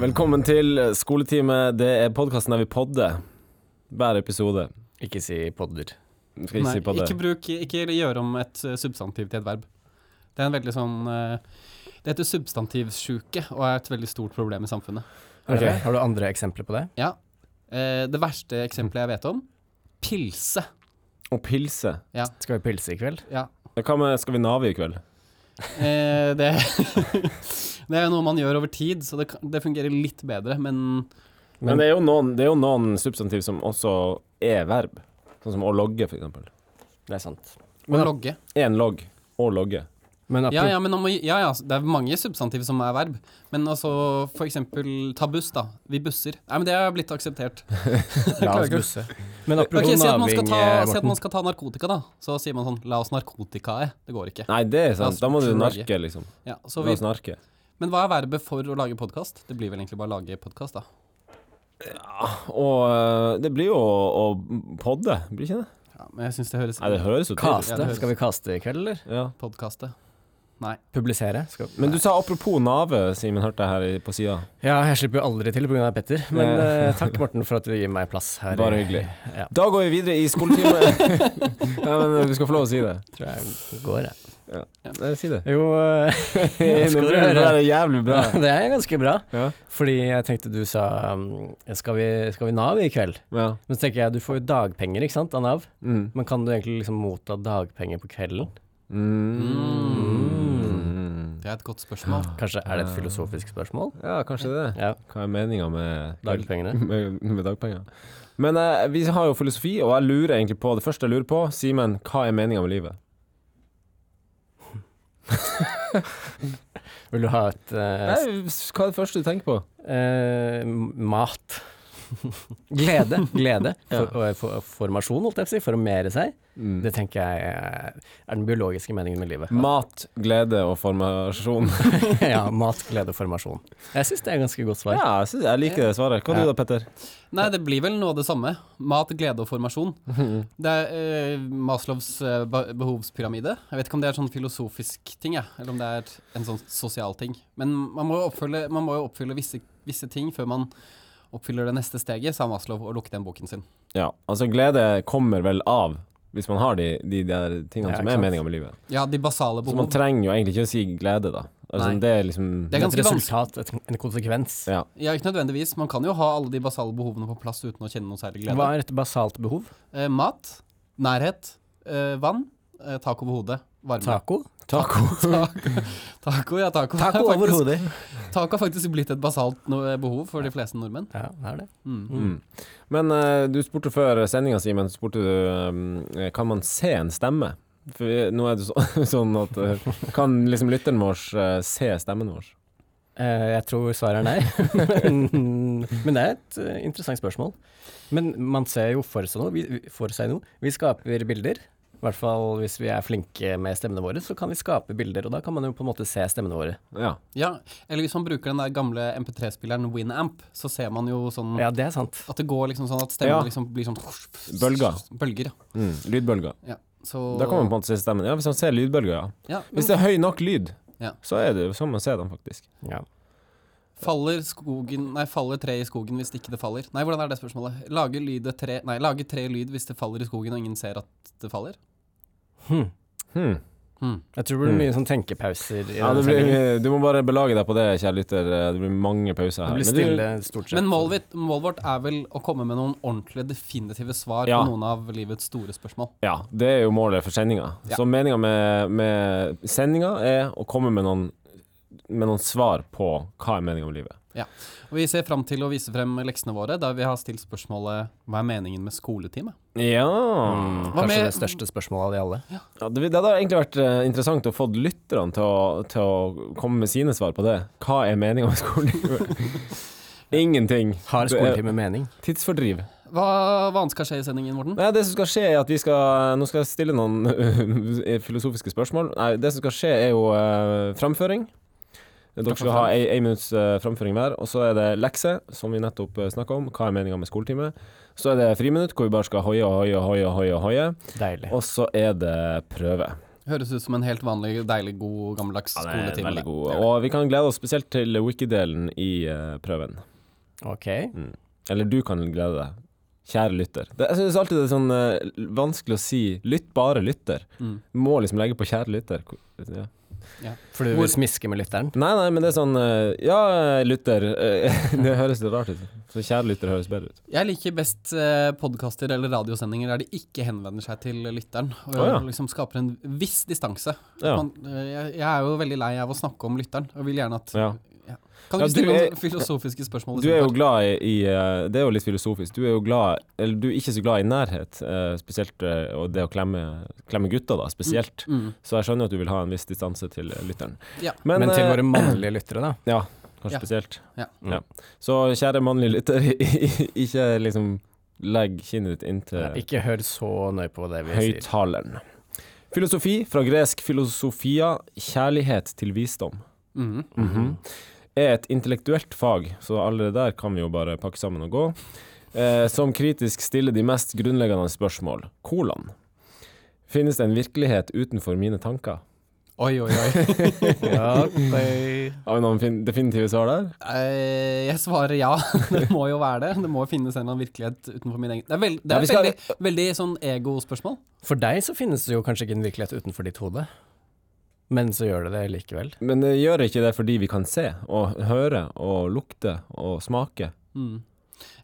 Velkommen til skoletime. Det er podkasten der vi podder hver episode. Ikke si podder. Skal ikke Nei, si podder. ikke, bruk, ikke gjør om et eh, substantiv til et verb. Det er en veldig sånn eh, Det heter substantivsjuke og er et veldig stort problem i samfunnet. Har du- Ok. Har du andre eksempler på det? Ja. Eh, det verste eksempelet jeg vet om pilse. Og pilse. Skal vi pilse i kveld? Ja. Hva med skal vi nave i kveld? Eh, det, det er jo noe man gjør over tid, så det, kan- det fungerer litt bedre, men Men, det, er jo noen, det er jo noen substantiv som også er verb. Sånn som å logge, for eksempel. Det er sant. å logge Én logg. Å logge. Men Ja, apropos ja, men om, å- ja, ja, det er mange substantiv som er verb. Men altså, for eksempel ta buss, da. Vi busser. Nei, men det har blitt akseptert. La oss klarer ikke. busse. Men Ok, apropos si at, man skal naving, ta, eh, si at Morten. man skal ta narkotika, da. Så sier man sånn 'la oss narkotikae'. Det går ikke. Nei, det er sant. Da må du La oss narke, liksom. Ja, så La vi, oss narke. men hva er verbet for å lage podkast? Det blir vel egentlig bare å lage podkast, da. Og øh, det blir jo å, å podde, blir ikke det? Ja, men jeg syns det høres Nei, det høres jo ut. Ja, det Kaste. høres- Skal vi kaste i kveld, eller? Ja. Podkastet. Publisere? Skal... Men Nei. du sa apropos nave, Simen, hørte jeg her i- på sida. Ja, jeg slipper jo aldri til pga. Petter, men Nei. eh, takk, Morten, for at du gir meg plass her. Bare i- hyggelig. Ja, Da går vi videre i skoletime. ja, men du skal få lov å si det. tror jeg går, jeg. Nei, si det. Jo, eh, Det skal du blir- det høre. er jævlig bra. Ja, det er ganske bra. Ja. Fordi jeg tenkte du sa um, skal, vi, skal vi Nav i kveld? Ja. Men så tenker jeg du får jo dagpenger, ikke sant, av Nav. Mm. Men kan du egentlig liksom motta dagpenger på kvelden? Mm. Det er et godt spørsmål. Kanskje er det et filosofisk spørsmål? Ja, kanskje det. Ja, Hva er meninga med, dagpengene. med, med dagpenger? Men eh, vi har jo filosofi, og jeg lurer egentlig på Det første jeg lurer på, Simen, hva er meninga med livet? Vil du ha et eh, s- hva er det første du tenker på? eh, mat? Glede. Glede. For, og, for, formasjon, holdt jeg på å si. Formere seg. Mm. Det tenker jeg eh, er den biologiske meningen med livet. Mat, glede og formasjon. ja, mat, glede, formasjon. Jeg syns det er et ganske godt svar. Ja, jeg, synes, jeg liker det svaret. Hva er du da, Petter? Nei, det blir vel noe av det samme. Mat, glede og formasjon. Det er eh, Maslows eh, be- behovspyramide. Jeg vet ikke om det er sånn filosofisk ting, jeg, eller om det er en sånn sosial ting. Men man må jo oppfylle, man må jo oppfylle visse, visse ting før man oppfyller det neste steget, sa Maslow og lukket igjen boken sin. Ja, altså glede kommer vel av hvis man har de, de der tingene Ja, som ikke er sant. meninga med livet. Ja, de basale Så man behov. trenger jo egentlig ikke å si glede, da. Altså, Nei. det er liksom Det er Et ganske vanskelig. resultat, et, en konsekvens. Ja. Ja, ikke nødvendigvis. Man kan jo ha alle de basale behovene på plass uten å kjenne noe særlig glede. Hva er et basalt behov? Eh, mat, nærhet, eh, vann, eh, tak over hodet, varme. Taco? Taco. Taco, taco, ja, taco. er Taco faktisk- over hodet. Taco har faktisk blitt et basalt no eh, behov for de fleste nordmenn. Ja, det er det. Mm. Mm. Men eh, du spurte før sendinga, Simen, så spurte du eh, kan man se en stemme? For vi- nå er det så, sånn at eh, Kan liksom lytteren vår eh, se stemmen vår? Eh, jeg tror svaret er nei. Men- Men det er et eh, interessant spørsmål. Men man ser jo for seg noe. Vi, vi- for seg noe. vi skaper bilder. I hvert fall hvis vi er flinke med stemmene våre, så kan vi skape bilder. Og da kan man jo på en måte se stemmene våre. Ja. Ja, eller hvis man bruker den der gamle MP3-spilleren Winamp, så ser man jo sånn Ja, det er sant. at det går liksom sånn at stemmen Ja. liksom blir sånn Bølger. Bølger, ja. Mm. Lydbølger. ja. Så Da kan man på en måte se stemmen. Ja, hvis man ser lydbølger, ja. ja, men Hvis det er høy nok lyd, Ja. så er det jo som å se dem, faktisk. Ja. Faller skogen Nei, faller treet i skogen hvis ikke det faller? Nei, hvordan er det spørsmålet? Lager lyd et tre Nei, lager tre lyd hvis det faller i skogen og ingen ser at det faller? Hm. Hmm. Hmm. Jeg tror det blir mye sånn tenkepauser. I Ja, det denne blir, sendingen. du må bare belage deg på det, kjære lytter. Det blir mange pauser det her. blir Men du- stille stort sett. Men målet, mitt- målet vårt er vel å komme med noen ordentlige, definitive svar Ja. på noen av livets store spørsmål. Ja, det er jo målet for sendinga. Ja. Så meninga med, med sendinga er å komme med noen, med noen svar på hva er meninga med livet. Og vi ser fram til å vise frem leksene våre, der vi har stilt spørsmålet 'Hva er meningen med skoletime?' Ja, Mm, Hva Kanskje med- det største spørsmålet av de alle. ja det, det hadde egentlig vært eh, interessant å få lytterne til å, til å komme med sine svar på det. Hva er meninga med skolelivet? Ingenting. Har Det er- skoletime mening? Tidsfordriv. Hva, hva annet skal skje i sendingen, Morten? Nei, det som skal skje er at vi skal Nå skal jeg stille noen filosofiske spørsmål. Nei, det som skal skje er jo eh, framføring. Dere skal ha ei, ei minutts eh, framføring hver. Og så er det lekse, som vi nettopp uh, snakka om. Hva er meninga med skoletime? Så er det friminutt, hvor vi bare skal hoie og hoie og hoie. og hoie, og hoie. Deilig. Og så er det prøve. Høres ut som en helt vanlig, deilig, god, gammeldags Ja, det er skoletime. veldig det. god. Og vi kan glede oss spesielt til wiki-delen i eh, prøven. Ok. Eller du kan glede deg. Kjære lytter. Det, jeg synes alltid det er sånn eh, vanskelig å si 'lytt bare lytter'. Mm. Må liksom legge på 'kjære lytter'. Ja. For du Hvor- vil smiske med lytteren? Nei, nei, men det er sånn eh, Ja, lytter. eh, det høres litt rart ut. Så 'kjære lytter' høres bedre ut. Jeg liker best eh, podkaster eller radiosendinger der de ikke henvender seg til lytteren, og Å, ja. liksom skaper en viss distanse. Ja. Man, eh, jeg, jeg er jo veldig lei av å snakke om lytteren, og vil gjerne at ja. Kan Ja, vi du stille er- noen filosofiske spørsmål? Du er jo glad i, i eh, Det er jo litt filosofisk. Du er jo glad Eller du er ikke så glad i nærhet, eh, spesielt eh, og det å klemme, klemme gutter, da, spesielt. Mm. Så jeg skjønner at du vil ha en viss distanse til eh, lytteren. Ja. Men, til eh, våre mannlige lyttere, da. Ja, kanskje Ja. spesielt. Mm. Ja. Ja. Så kjære mannlige lytter, ikke liksom legg kinnet ditt inntil Ja, Ikke hør så nøye på det vi sier. høyttaleren. Filosofi, fra gresk filosofia, kjærlighet til visdom, Mm. er et intellektuelt fag, så allerede der kan vi jo bare pakke sammen og gå, eh, som kritisk stiller de mest grunnleggende spørsmål. Hvordan? Finnes det en virkelighet utenfor mine tanker? Oi, oi, oi. Ja, ok. Har vi noen fin- definitive svar der? Eh, jeg svarer ja. Det må jo være det. Det må jo finnes en eller annen virkelighet utenfor min egen Det er, veld, det Ja, er vi skal- veldig, veldig sånn ego-spørsmål. For deg så finnes det jo kanskje ikke en virkelighet utenfor ditt hode, men så gjør det det likevel. Men det gjør ikke det fordi vi kan se og høre og lukte og smake? Mm.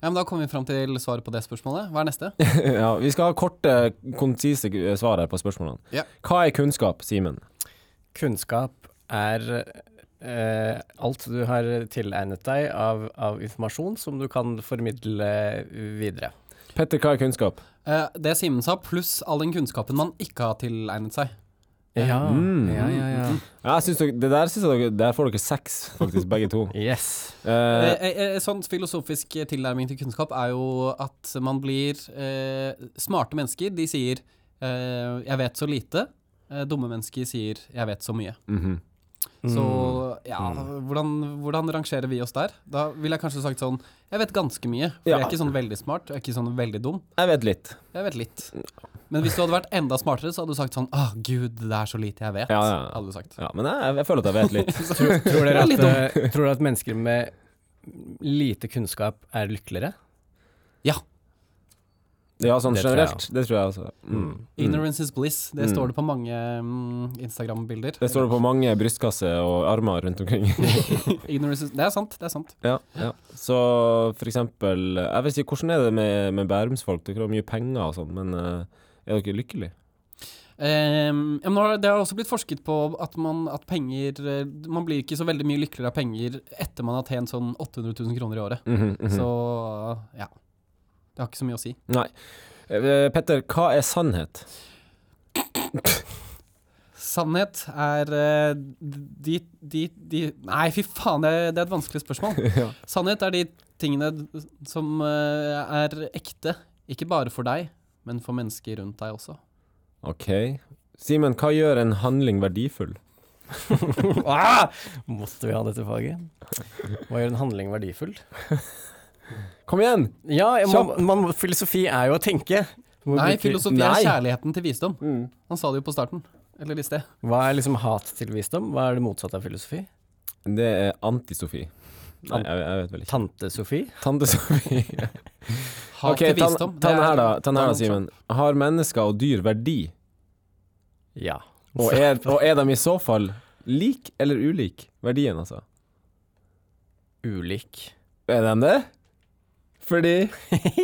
Ja, men Da kommer vi fram til svaret på det spørsmålet. Hva er neste? ja, vi skal ha korte, konsise svar her på spørsmålene. Ja. Hva er kunnskap, Simen? Kunnskap er eh, alt du har tilegnet deg av, av informasjon som du kan formidle videre. Petter, hva er kunnskap? Eh, det Simen sa, pluss all den kunnskapen man ikke har tilegnet seg. Ja, Mm. ja, ja, ja. Ja, jeg synes dere, det der, synes dere, der får dere seks, faktisk, begge to. Yes. Eh, Eh, eh, eh, sånn filosofisk tilnærming til kunnskap er jo at man blir eh, Smarte mennesker, de sier eh, 'jeg vet så lite'. Eh, dumme mennesker sier 'jeg vet så mye'. mhm. Så Mm. ja, hvordan, hvordan rangerer vi oss der? Da ville jeg kanskje sagt sånn Jeg vet ganske mye, for Ja. jeg er ikke sånn veldig smart. Jeg er ikke sånn veldig dum. Jeg vet litt. Jeg vet litt. Men hvis du hadde vært enda smartere, så hadde du sagt sånn Å, gud, det er så lite jeg vet. Ja, ja, ja. Hadde du sagt. Ja, Mm. men jeg, jeg føler at jeg vet litt. Tror, tror, dere Litt at, dum. eh, tror dere at mennesker med lite kunnskap er lykkeligere? Ja, sånn Det tror jeg generelt. Det tror jeg også. Mm. Ignorance is bliss. Det Mm. står det på mange mm, Instagram-bilder. Det står det på mange brystkasser og armer rundt omkring. Ignorance is Det er sant, det er sant. ja, ja. Så for eksempel Jeg vet ikke, hvordan er det med, med bærumsfolk? Dere har mye penger og sånn, men eh, er dere lykkelige? Ehm, ja, men nå har- det har også blitt forsket på at, man, at penger eh, Man blir ikke så veldig mye lykkeligere av penger etter man har tjent sånn 800 000 kroner i året. Mhm, mhm. Så ja. Det har ikke så mye å si. Nei. Eh, Petter, hva er sannhet? Sannhet er eh, de, de, de Nei, fy faen, det, det er et vanskelig spørsmål. Ja. Sannhet er de tingene d- som eh, er ekte. Ikke bare for deg, men for mennesker rundt deg også. Ok. Simen, hva gjør en handling verdifull? ah! Måtte vi ha dette faget? Hva gjør en handling verdifull? Kom igjen! Ja, jeg må, man, må- filosofi er jo å tenke. Må Nei, bruke- filosofi Nei. er kjærligheten til visdom. Han sa det jo på starten. Eller i sted. Hva er liksom hat til visdom? Hva er det motsatte av filosofi? Det er anti-Sofi. Nei, jeg, jeg vet vel ikke. Tante-Sofi? Tante-Sofi. Hat Ok, til ta, visdom. ta den det er her, da, ta den her da Donald Simen. Har mennesker og dyr verdi? Ja. Og er, og er de i så fall lik eller ulik verdien, altså? Ulik. Er de det? Fordi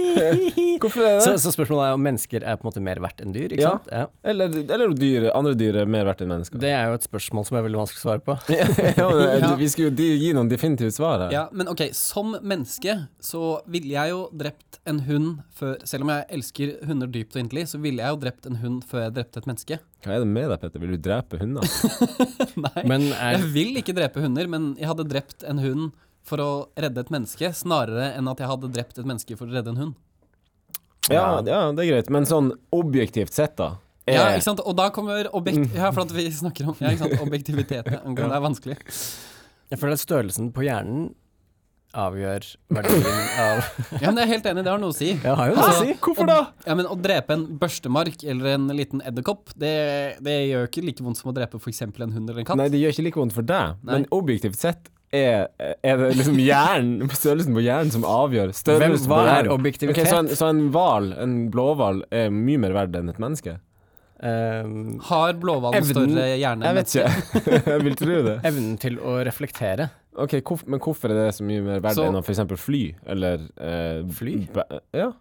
Hvorfor er det Så, det? så spørsmålet er om mennesker er på en måte mer verdt enn dyr, ikke Ja. sant? Ja. Eller, eller dyr, andre dyr er mer verdt enn mennesker? Det er jo et spørsmål som er veldig vanskelig å svare på. ja, men, Ja. Vi skulle jo di- gi noen definitive svar her. Ja, men ok, som menneske så ville jeg jo drept en hund før Selv om jeg elsker hunder dypt og inderlig, så ville jeg jo drept en hund før jeg drepte et menneske. Hva er det med deg, Petter? Vil du drepe hunder? Nei, Men er, jeg vil ikke drepe hunder, men jeg hadde drept en hund for å redde et menneske, snarere enn at jeg hadde drept et menneske for å redde en hund. Ja, ja, det er greit. Men sånn objektivt sett, da. Er, Ja, ikke sant? Mm. Og da kommer objekt... Ja, for at vi snakker om ja, ikke sant? objektiviteten. angående Det er vanskelig. Jeg føler at størrelsen på hjernen avgjør verdien av Altså, Ja, men jeg er helt enig, det har noe å si. Ja, har jo Altså, noe å si. Hvorfor da? Ja, men Å drepe en børstemark eller en liten edderkopp, det, det gjør ikke like vondt som å drepe f.eks. en hund eller en katt. Nei, det gjør ikke like vondt for deg, Nei. men objektivt sett er, er det liksom hjernen, størrelsen på hjernen som avgjør Hvem, størrelsen hva på er hjernen. objektivitet? Ok, så en, så en hval, en blåhval, er mye mer verd enn et menneske? Ehm, Har blåhvalen Evnen- større hjerne? Jeg enn vet ikke. Jeg vil tro det. evnen til å reflektere. Ok, hvorf- Men hvorfor er det så mye mer verd Så- enn å f.eks. fly? Eller eh, Fly? bæ- Ja.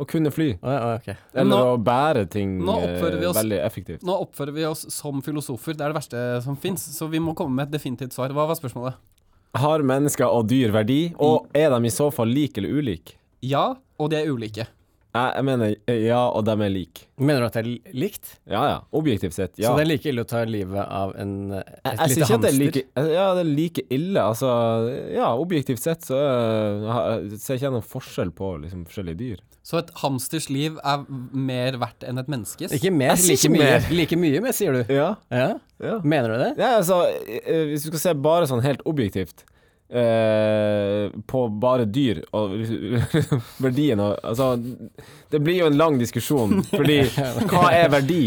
Å kunne fly. Å, ja, ok. Eller Nå- å bære ting nå oppfører vi eh, oss- veldig effektivt. Nå oppfører vi oss som filosofer, det er det verste som fins, så vi må komme med et definitivt svar. Hva var spørsmålet? Har mennesker og dyr verdi, og Mm. er de i så fall like eller ulike? Ja, og de er ulike. Jeg, jeg mener eh, ja, og de er like. Mener du at det er li- likt? Ja ja, objektivt sett. Ja. Så det er like ille å ta livet av en, eh, et Jeg, jeg synes lite ikke at det er hamster? like, eh, ja, det er like ille. Altså, ja, objektivt sett så eh, har- ser ikke jeg noen forskjell på liksom, forskjellige dyr. Så et hamsters liv er mer verdt enn et menneskes? Ikke mer, Jeg sier like ikke mye. mer. Like mye mer, sier du. Ja, Ja? ja. Mener du det? Ja, altså, eh, hvis du skal se bare sånn helt objektivt eh, på bare dyr og verdien av Altså, det blir jo en lang diskusjon, fordi hva er verdi?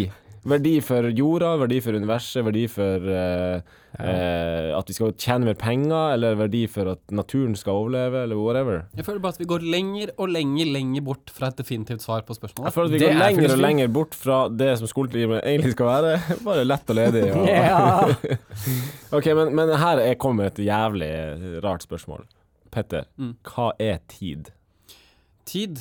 Verdi for jorda, verdi for universet, verdi for eh, eh, at vi skal tjene mer penger, eller verdi for at naturen skal overleve, eller whatever. Jeg føler bare at vi går lenger og lenger lenger bort fra et definitivt svar på Jeg spørsmålet. føler at vi Det går er lenger og filosofi. lenger bort fra det som skoletimen egentlig skal være. Bare lett og ledig. Og... Ja. Ok, men, men her er kommer et jævlig rart spørsmål. Petter, Mm. hva er tid? Tid.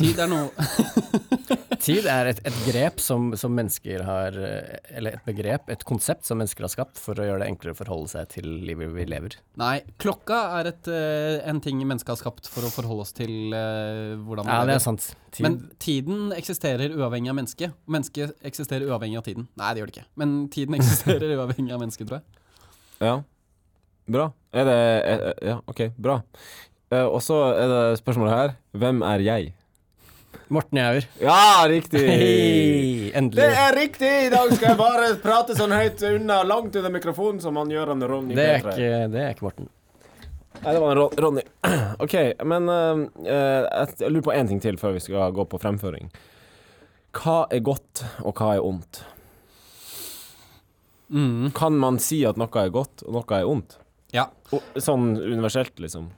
Tid er noe Tid er et, et grep som, som mennesker har eh, Eller et begrep, et konsept som mennesker har skapt for å gjøre det enklere å forholde seg til livet vi lever. Nei, klokka er et, eh, en ting mennesket har skapt for å forholde oss til eh, hvordan Ja, lever. det er sant. Tid Men tiden eksisterer uavhengig av mennesket. Mennesket eksisterer uavhengig av tiden. Nei, det gjør det ikke. Men tiden eksisterer uavhengig av mennesket, tror jeg. Ja, bra. Er det er, Ja, ok, bra. Eh, og så er det spørsmålet her. Hvem er jeg? Morten Jauer. Ja, riktig! Hei, endelig. riktig! I dag skal jeg bare prate sånn høyt unna, langt under mikrofonen, som han gjør han Ronny Det er ikke, det er ikke Morten. Nei, det var en Ron Ronny. OK, men eh, eh, jeg lurer på én ting til før vi skal gå på fremføring. Hva er godt, og hva er ondt? Mm. Kan man si at noe er godt, og noe er ondt? Ja. Og, sånn universelt, liksom.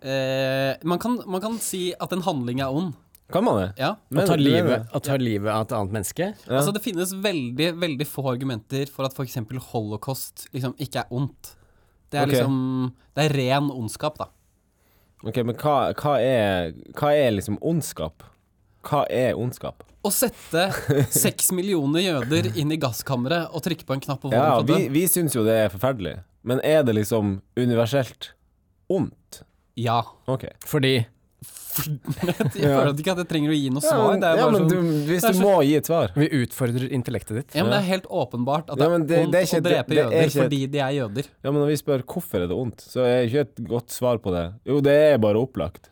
Eh, man, kan, man kan si at en handling er ond. Kan man det? Ja. Å ta du- livet, å ta livet av et annet menneske. Ja. Altså, det finnes veldig, veldig få argumenter for at f.eks. holocaust liksom ikke er ondt. Det er Ok. liksom Det er ren ondskap, da. OK, men hva, hva, er, hva er liksom ondskap? Hva er ondskap? Å sette seks millioner jøder inn i gasskammeret og trykke på en knapp og få Ja, dem vi, til å dø. vi syns jo det er forferdelig, men er det liksom universelt ondt? Ja. OK. Fordi Jeg føler ikke at jeg trenger å gi noe Ja, svar. men, Det er ja, bare men sånn du, hvis det er du så- må gi et svar vi utfordrer intellektet ditt. Ja, men det er helt åpenbart at Ja, det er men det- ondt det er ikke- å drepe det- det er jøder ikke- fordi de er jøder. Ja, men når vi spør hvorfor er det ondt, så er ikke et godt svar på det. Jo, det er bare opplagt.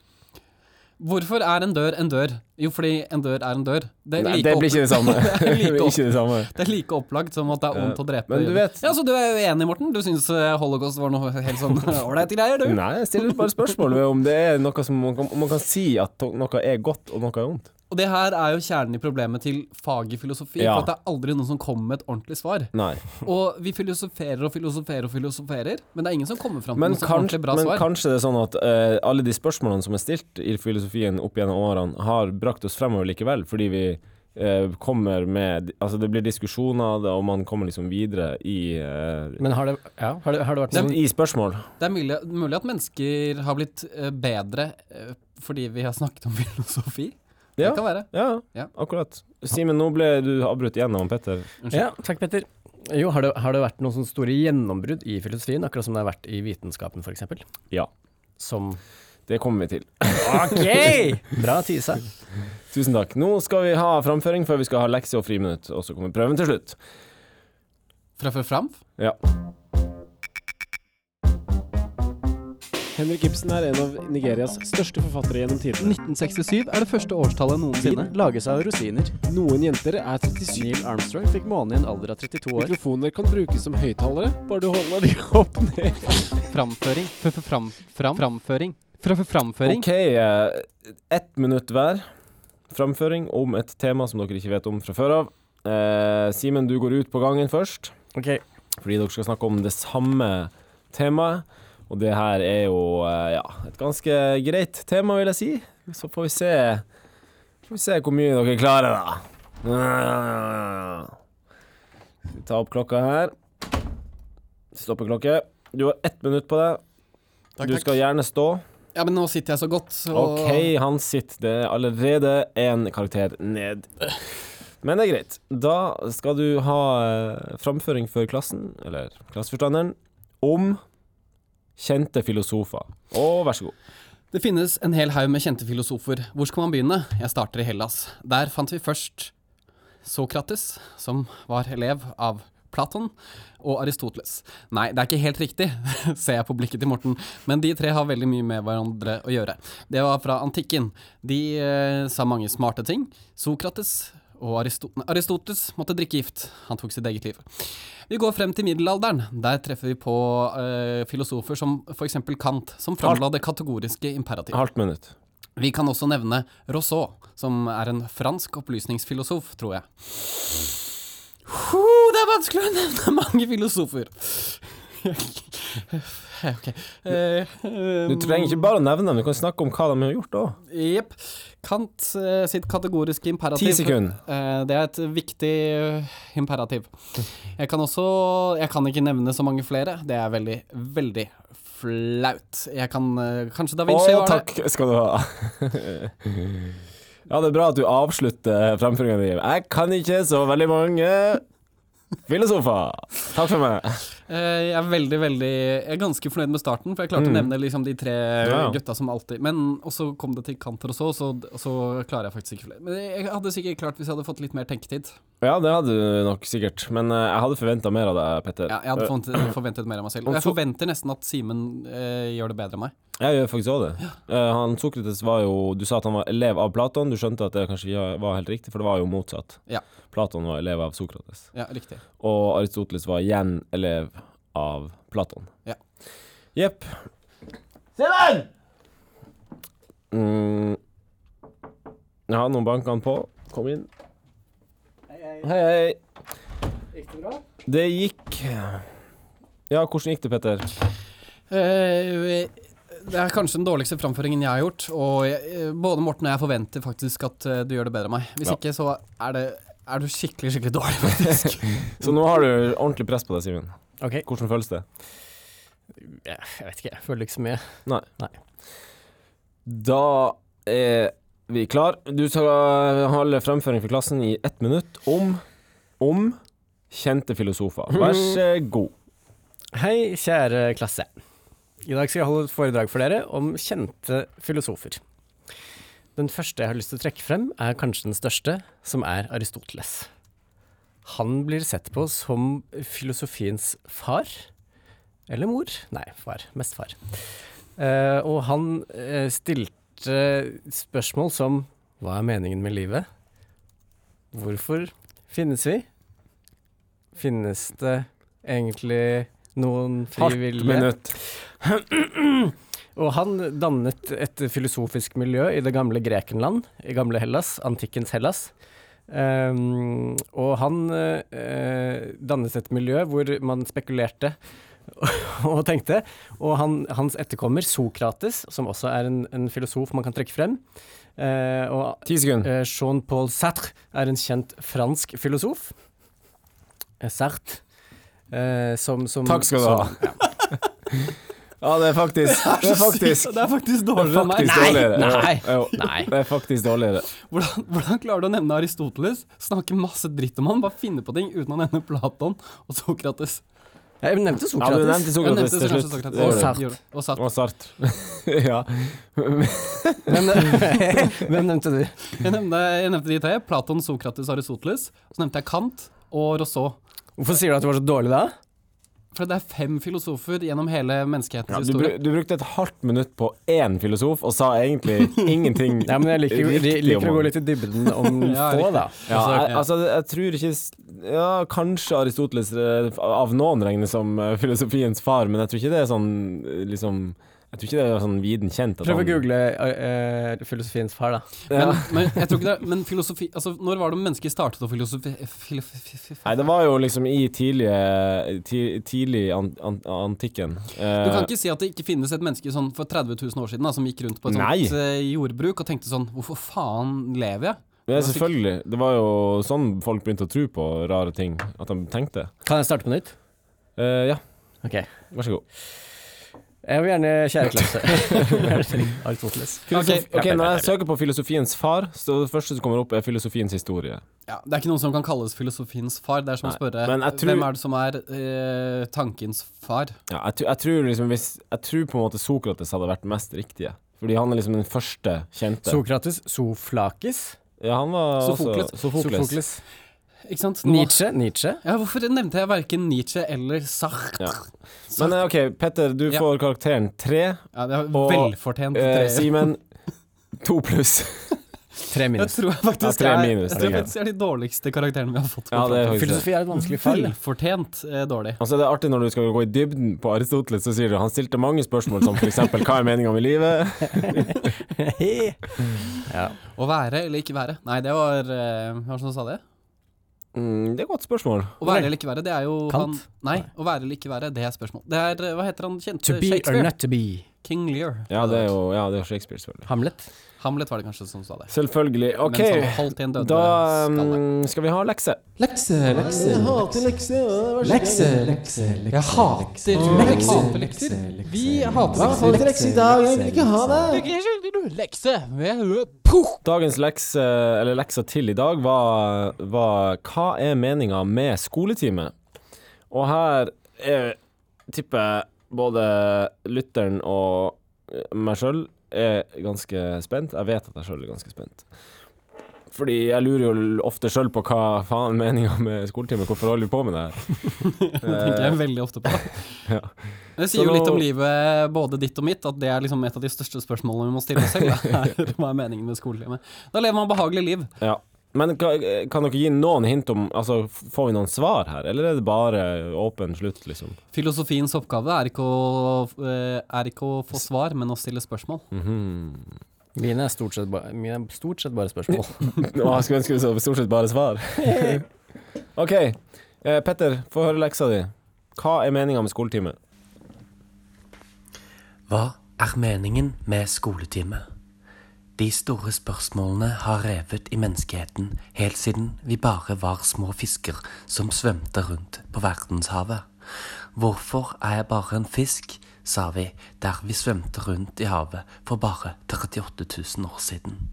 Hvorfor er en dør en dør? Jo, fordi en dør er en dør. Det er Nei, like, det blir opp, ikke det samme. Det er Det like blir ikke det samme. det er like opplagt som at det er Ja, ondt å drepe men du jøder. vet- Ja, Så du er uenig, Morten? Du syns holocaust var noe helt sånn ålreite greier, du? Nei, jeg stiller bare spørsmål ved om det er noe som man kan, om man kan si at to- noe er godt og noe er ondt. Og det her er jo kjernen i problemet til faget filosofi, Ja. for at det er aldri noen som kommer med et ordentlig svar. Nei. Og vi filosoferer og filosoferer og filosoferer, men det er ingen som kommer fram til Men, noe sånn kanskje, ordentlig bra men svar. kanskje det er sånn at eh, alle de spørsmålene som er stilt i filosofien opp gjennom årene, har brakt oss fremover likevel, fordi vi eh, kommer med Altså, det blir diskusjoner, og man kommer liksom videre i, eh, Men har det, ja, har det, har det vært noen i spørsmål. Det er mulig, mulig at mennesker har blitt eh, bedre eh, fordi vi har snakket om filosofi. Ja. Det kan være. Ja, Ja. akkurat. Simen, nå ble du avbrutt igjen av Petter. Ja, takk Petter. Jo, har det, har det vært noen sånne store gjennombrudd i filosofien, akkurat som det har vært i vitenskapen f.eks.? Ja. Som Det kommer vi til. OK! Bra tisa. Tusen takk. Nå skal vi ha framføring før vi skal ha lekse og friminutt, og så kommer prøven til slutt. Fra før fram? Ja. Henrik Ibsen er en av Nigerias største forfattere gjennom tidene. 1967 er det første årstallet noensinne. Vin lages av rosiner. Noen jenter er 37 Neil Armstrong fikk måne i en alder av 32 år. Mikrofoner kan brukes som høyttalere, bare du holder de opp ned. Framføring. F -f Fram, fram, framføring. Fra fra- framføring. OK, eh, ett minutt hver. Framføring om et tema som dere ikke vet om fra før av. Eh, Simen, du går ut på gangen først, Ok, fordi dere skal snakke om det samme temaet. Og det her er jo eh, ja, et ganske greit tema, vil jeg si. Så får vi se, får vi se hvor mye dere klarer, da. Skal vi ta opp klokka her. Stoppeklokke. Du har ett minutt på deg. Takk, Du takk. skal gjerne stå. Ja, men nå sitter jeg så godt, så OK, han sitter. Det er allerede én karakter ned. Men det er greit. Da skal du ha eh, framføring for klassen, eller klasseforstanderen, om kjente filosofer. Og vær så god. Det finnes en hel haug med kjente filosofer. Hvor skal man begynne? Jeg starter i Hellas. Der fant vi først Sokrates, som var elev av Platon, og Aristoteles. Nei, det er ikke helt riktig, ser jeg på blikket til Morten, men de tre har veldig mye med hverandre å gjøre. Det var fra antikken. De eh, sa mange smarte ting. Sokrates og Aristo Aristoteles måtte drikke gift. Han tok sitt eget liv. Vi går frem til middelalderen. Der treffer vi på eh, filosofer som f.eks. Kant, som framla det kategoriske imperativ. Halvt minutt. Vi kan også nevne Rousseau, som er en fransk opplysningsfilosof, tror jeg. Ho, det er vanskelig å nevne mange filosofer. ok. eh, Du trenger ikke bare å nevne dem, du kan snakke om hva de har gjort òg. Jepp. eh, Kant eh, sitt kategoriske imperativ. Ti sekunder. Eh, det er et viktig eh, imperativ. Jeg kan også Jeg kan ikke nevne så mange flere. Det er veldig, veldig flaut. Jeg kan eh, Kanskje Da Å, Vinci var det. takk skal du ha. ja, det er bra at du avslutter framføringa di. Jeg kan ikke så veldig mange filosofer. Takk for meg. Eh, Jeg er veldig, veldig Jeg er ganske fornøyd med starten, for jeg klarte å nevne liksom de tre Mm. Ja. gutta som alltid Men og så kom det til kanter og så, og så, og så klarer jeg faktisk ikke flere. Men jeg hadde sikkert klart hvis jeg hadde fått litt mer tenketid. Ja, det hadde du nok sikkert, men eh, jeg hadde forventa mer av deg, Petter. Ja, jeg hadde forventet, forventet mer av meg selv. Og jeg forventer nesten at Simen eh, gjør det bedre enn meg. Jeg gjør faktisk òg det. Eh, han Sokrates var jo Du sa at han var elev av Platon. Du skjønte at det kanskje ikke var helt riktig, for det var jo motsatt. Ja. Platon var elev av Sokrates, Ja, riktig. og Aristoteles var igjen elev av Platon. Ja. Jepp. Simen! Mm. Ja, nå banker han på. Kom inn. Hei, hei. Gikk det bra? Det gikk Ja, hvordan gikk det, Petter? Eh, det er kanskje den dårligste framføringen jeg har gjort, og jeg, eh, både Morten og jeg forventer faktisk at eh, du gjør det bedre enn meg. Hvis Ja. ikke, så er det er du skikkelig, skikkelig dårlig, faktisk. Så nå har du ordentlig press på deg, Simen. ok. Hvordan føles det? Jeg vet ikke, jeg føler ikke så mye. Da er vi klar. Du skal holde fremføring for klassen i ett minutt om om kjente filosofer. Vær så god. Hei, kjære klasse. I dag skal jeg holde et foredrag for dere om kjente filosofer. Den første jeg har lyst til å trekke frem, er kanskje den største, som er Aristoteles. Han blir sett på som filosofiens far. Eller mor? Nei, far. Mest far. Eh, og han eh, stilte spørsmål som Hva er meningen med livet? Hvorfor finnes vi? Finnes det egentlig noen Halvt frivillige? minutt. Og han dannet et filosofisk miljø i det gamle Grekenland, i gamle Hellas, antikkens Hellas. Ehm, og han eh, dannet et miljø hvor man spekulerte og tenkte. Og han, hans etterkommer, Sokrates, som også er en, en filosof man kan trekke frem, eh, og Ti sekunder. Eh, Jean-Paul Sartre er en kjent fransk filosof. Eh, Sartre. Eh, som, som, Takk skal du ha. som- Ja, det er faktisk Det er faktisk, det er faktisk dårligere enn meg. faktisk Nei, dårligere. nei, Jo, jo. nei. Det er faktisk dårligere. Hvordan, hvordan klarer du å nevne Aristoteles? Snakke masse dritt om han, bare finne på ting uten å nevne Platon og Sokrates. Jeg nevnte Ja, du Sokrates. nevnte Jeg Sokrates nevnte til kanskje slutt. Sokrates. Det Og gjorde du. Sartre. Gjorde det. Og Sartre. Og Sartre. ja. Men, hvem nevnte du? Jeg nevnte, jeg nevnte de tre. Platon, Sokrates og Aristoteles. Så nevnte jeg Kant og Rousseau. Hvorfor sier du at det var så dårlig da? For det er fem filosofer gjennom hele menneskehetens Ja, du, bru- historie. du brukte et halvt minutt på én filosof og sa egentlig ingenting Nei, men jeg liker, jo- riktig li- liker om å gå han. litt i dybden om Ja, få, riktig. da. ja, Altså, jeg, altså, jeg tror ikke s- Ja, kanskje Aristoteles eh, av noen regnes som eh, filosofiens far, men jeg tror ikke det er sånn eh, liksom Jeg tror ikke det er sånn viden kjent. at prøv å han- google eh, eh, filosofiens far, da. Ja. Men, men jeg tror ikke det er- Men filosofi Altså, når var det mennesker startet å filosofi... filosofi Nei, det var jo liksom i tidlige, eh, ti, tidlig an, an, antikken. Eh, Du kan ikke si at det ikke finnes et menneske sånn for 30 000 år siden da, som gikk rundt på et Nei. sånt eh, jordbruk og tenkte sånn Hvorfor faen lever jeg? ja, selvfølgelig. Det var jo sånn folk begynte å tro på rare ting. At de tenkte. Kan jeg starte på nytt? Eh, ja, Ok. vær så god. Jeg vil gjerne kjære klasse. Aristoteles. Ok, ok, Når jeg søker på filosofiens far, så det første som kommer opp, er filosofiens historie. Ja, det er ikke noen som kan kalles filosofiens far. Det er som å Nei, spørre men jeg tror- hvem er det som er eh, tankens far? Ja, jeg, tr- jeg tror liksom hvis Jeg tror på en måte Sokrates hadde vært mest riktige. Fordi han er liksom den første kjente. Sokrates, Soflakis, ja, han var Sofokles. Også, Sofokles. Sofokles. Ikke sant? Nå- Nietzsche, Nietzsche. Ja, hvorfor nevnte jeg verken Nietzsche eller Sartre? Ja. Ja. Men eh, OK, Petter, du Ja. får karakteren tre. det er Og, velfortjent Eh, tre. Simen, to pluss. Tre jeg minus. tror jeg Ja, faktisk tre er- minus, jeg tror det er faktisk er de dårligste karakterene vi har fått. på Ja, det er platen. faktisk det. Filosofi er et vanskelig fag. da. Velfortjent eh, dårlig. Og så er Altså, det artig når du skal gå i dybden på Aristoteles, så sier du han stilte mange spørsmål som f.eks.: Hva er meninga med livet? ja. Å være eller ikke være. Nei, det var eh, Hva var det som sa det? Mm, det er et godt spørsmål. Å være eller ikke være, det er jo Kant? Han, nei, å være eller ikke være, det er spørsmål. Det er eh, Hva heter han kjente? To be or not to be. King Lear. Ja, det er jo ja, det er Shakespeare, selvfølgelig. Hamlet. Hamlet var det kanskje som sa det. Selvfølgelig. OK, Mens han holdt i en dødende sånn, da skalle. mm, skal vi ha lekse. Lekse, lekse, lekse, lekse, lekse. Jeg hater lekser. lekser. Vi hater lekser. Hva får til lekse i dag? Jeg vil ikke ha det. Lekse! Dagens lekse, eller leksa til i dag, var, var Hva er meninga med skoletime? Og her er, tipper jeg både lytteren og eh, meg sjøl er ganske spent. Jeg vet at jeg sjøl er ganske spent. Fordi jeg lurer jo ofte sjøl på hva faen meninga med skoletime Hvorfor holder vi på med det her? Eh, Det tenker jeg veldig ofte på. Ja. Det sier Så jo nå- litt om livet, både ditt og mitt, at det er liksom et av de største spørsmålene vi må stille oss selv. da. Er, hva er meningen med skolelivet? Da lever man behagelig liv. Ja. Men kan, kan dere gi noen hint om Altså, får vi noen svar her, eller er det bare åpen slutt, liksom? Filosofiens oppgave er ikke å, eh, er ikke å få svar, men å stille spørsmål. Mhm. Mine er stort sett, ba mine er stort sett bare spørsmål. Nå, jeg skulle ønske vi så stort sett bare svar. OK. Eh, Petter, få høre leksa di. Hva er meninga med skoletime? Hva er meningen med skoletime? De store spørsmålene har revet i menneskeheten helt siden vi bare var små fisker som svømte rundt på verdenshavet. Hvorfor er jeg bare en fisk, sa vi der vi svømte rundt i havet for bare 38 000 år siden.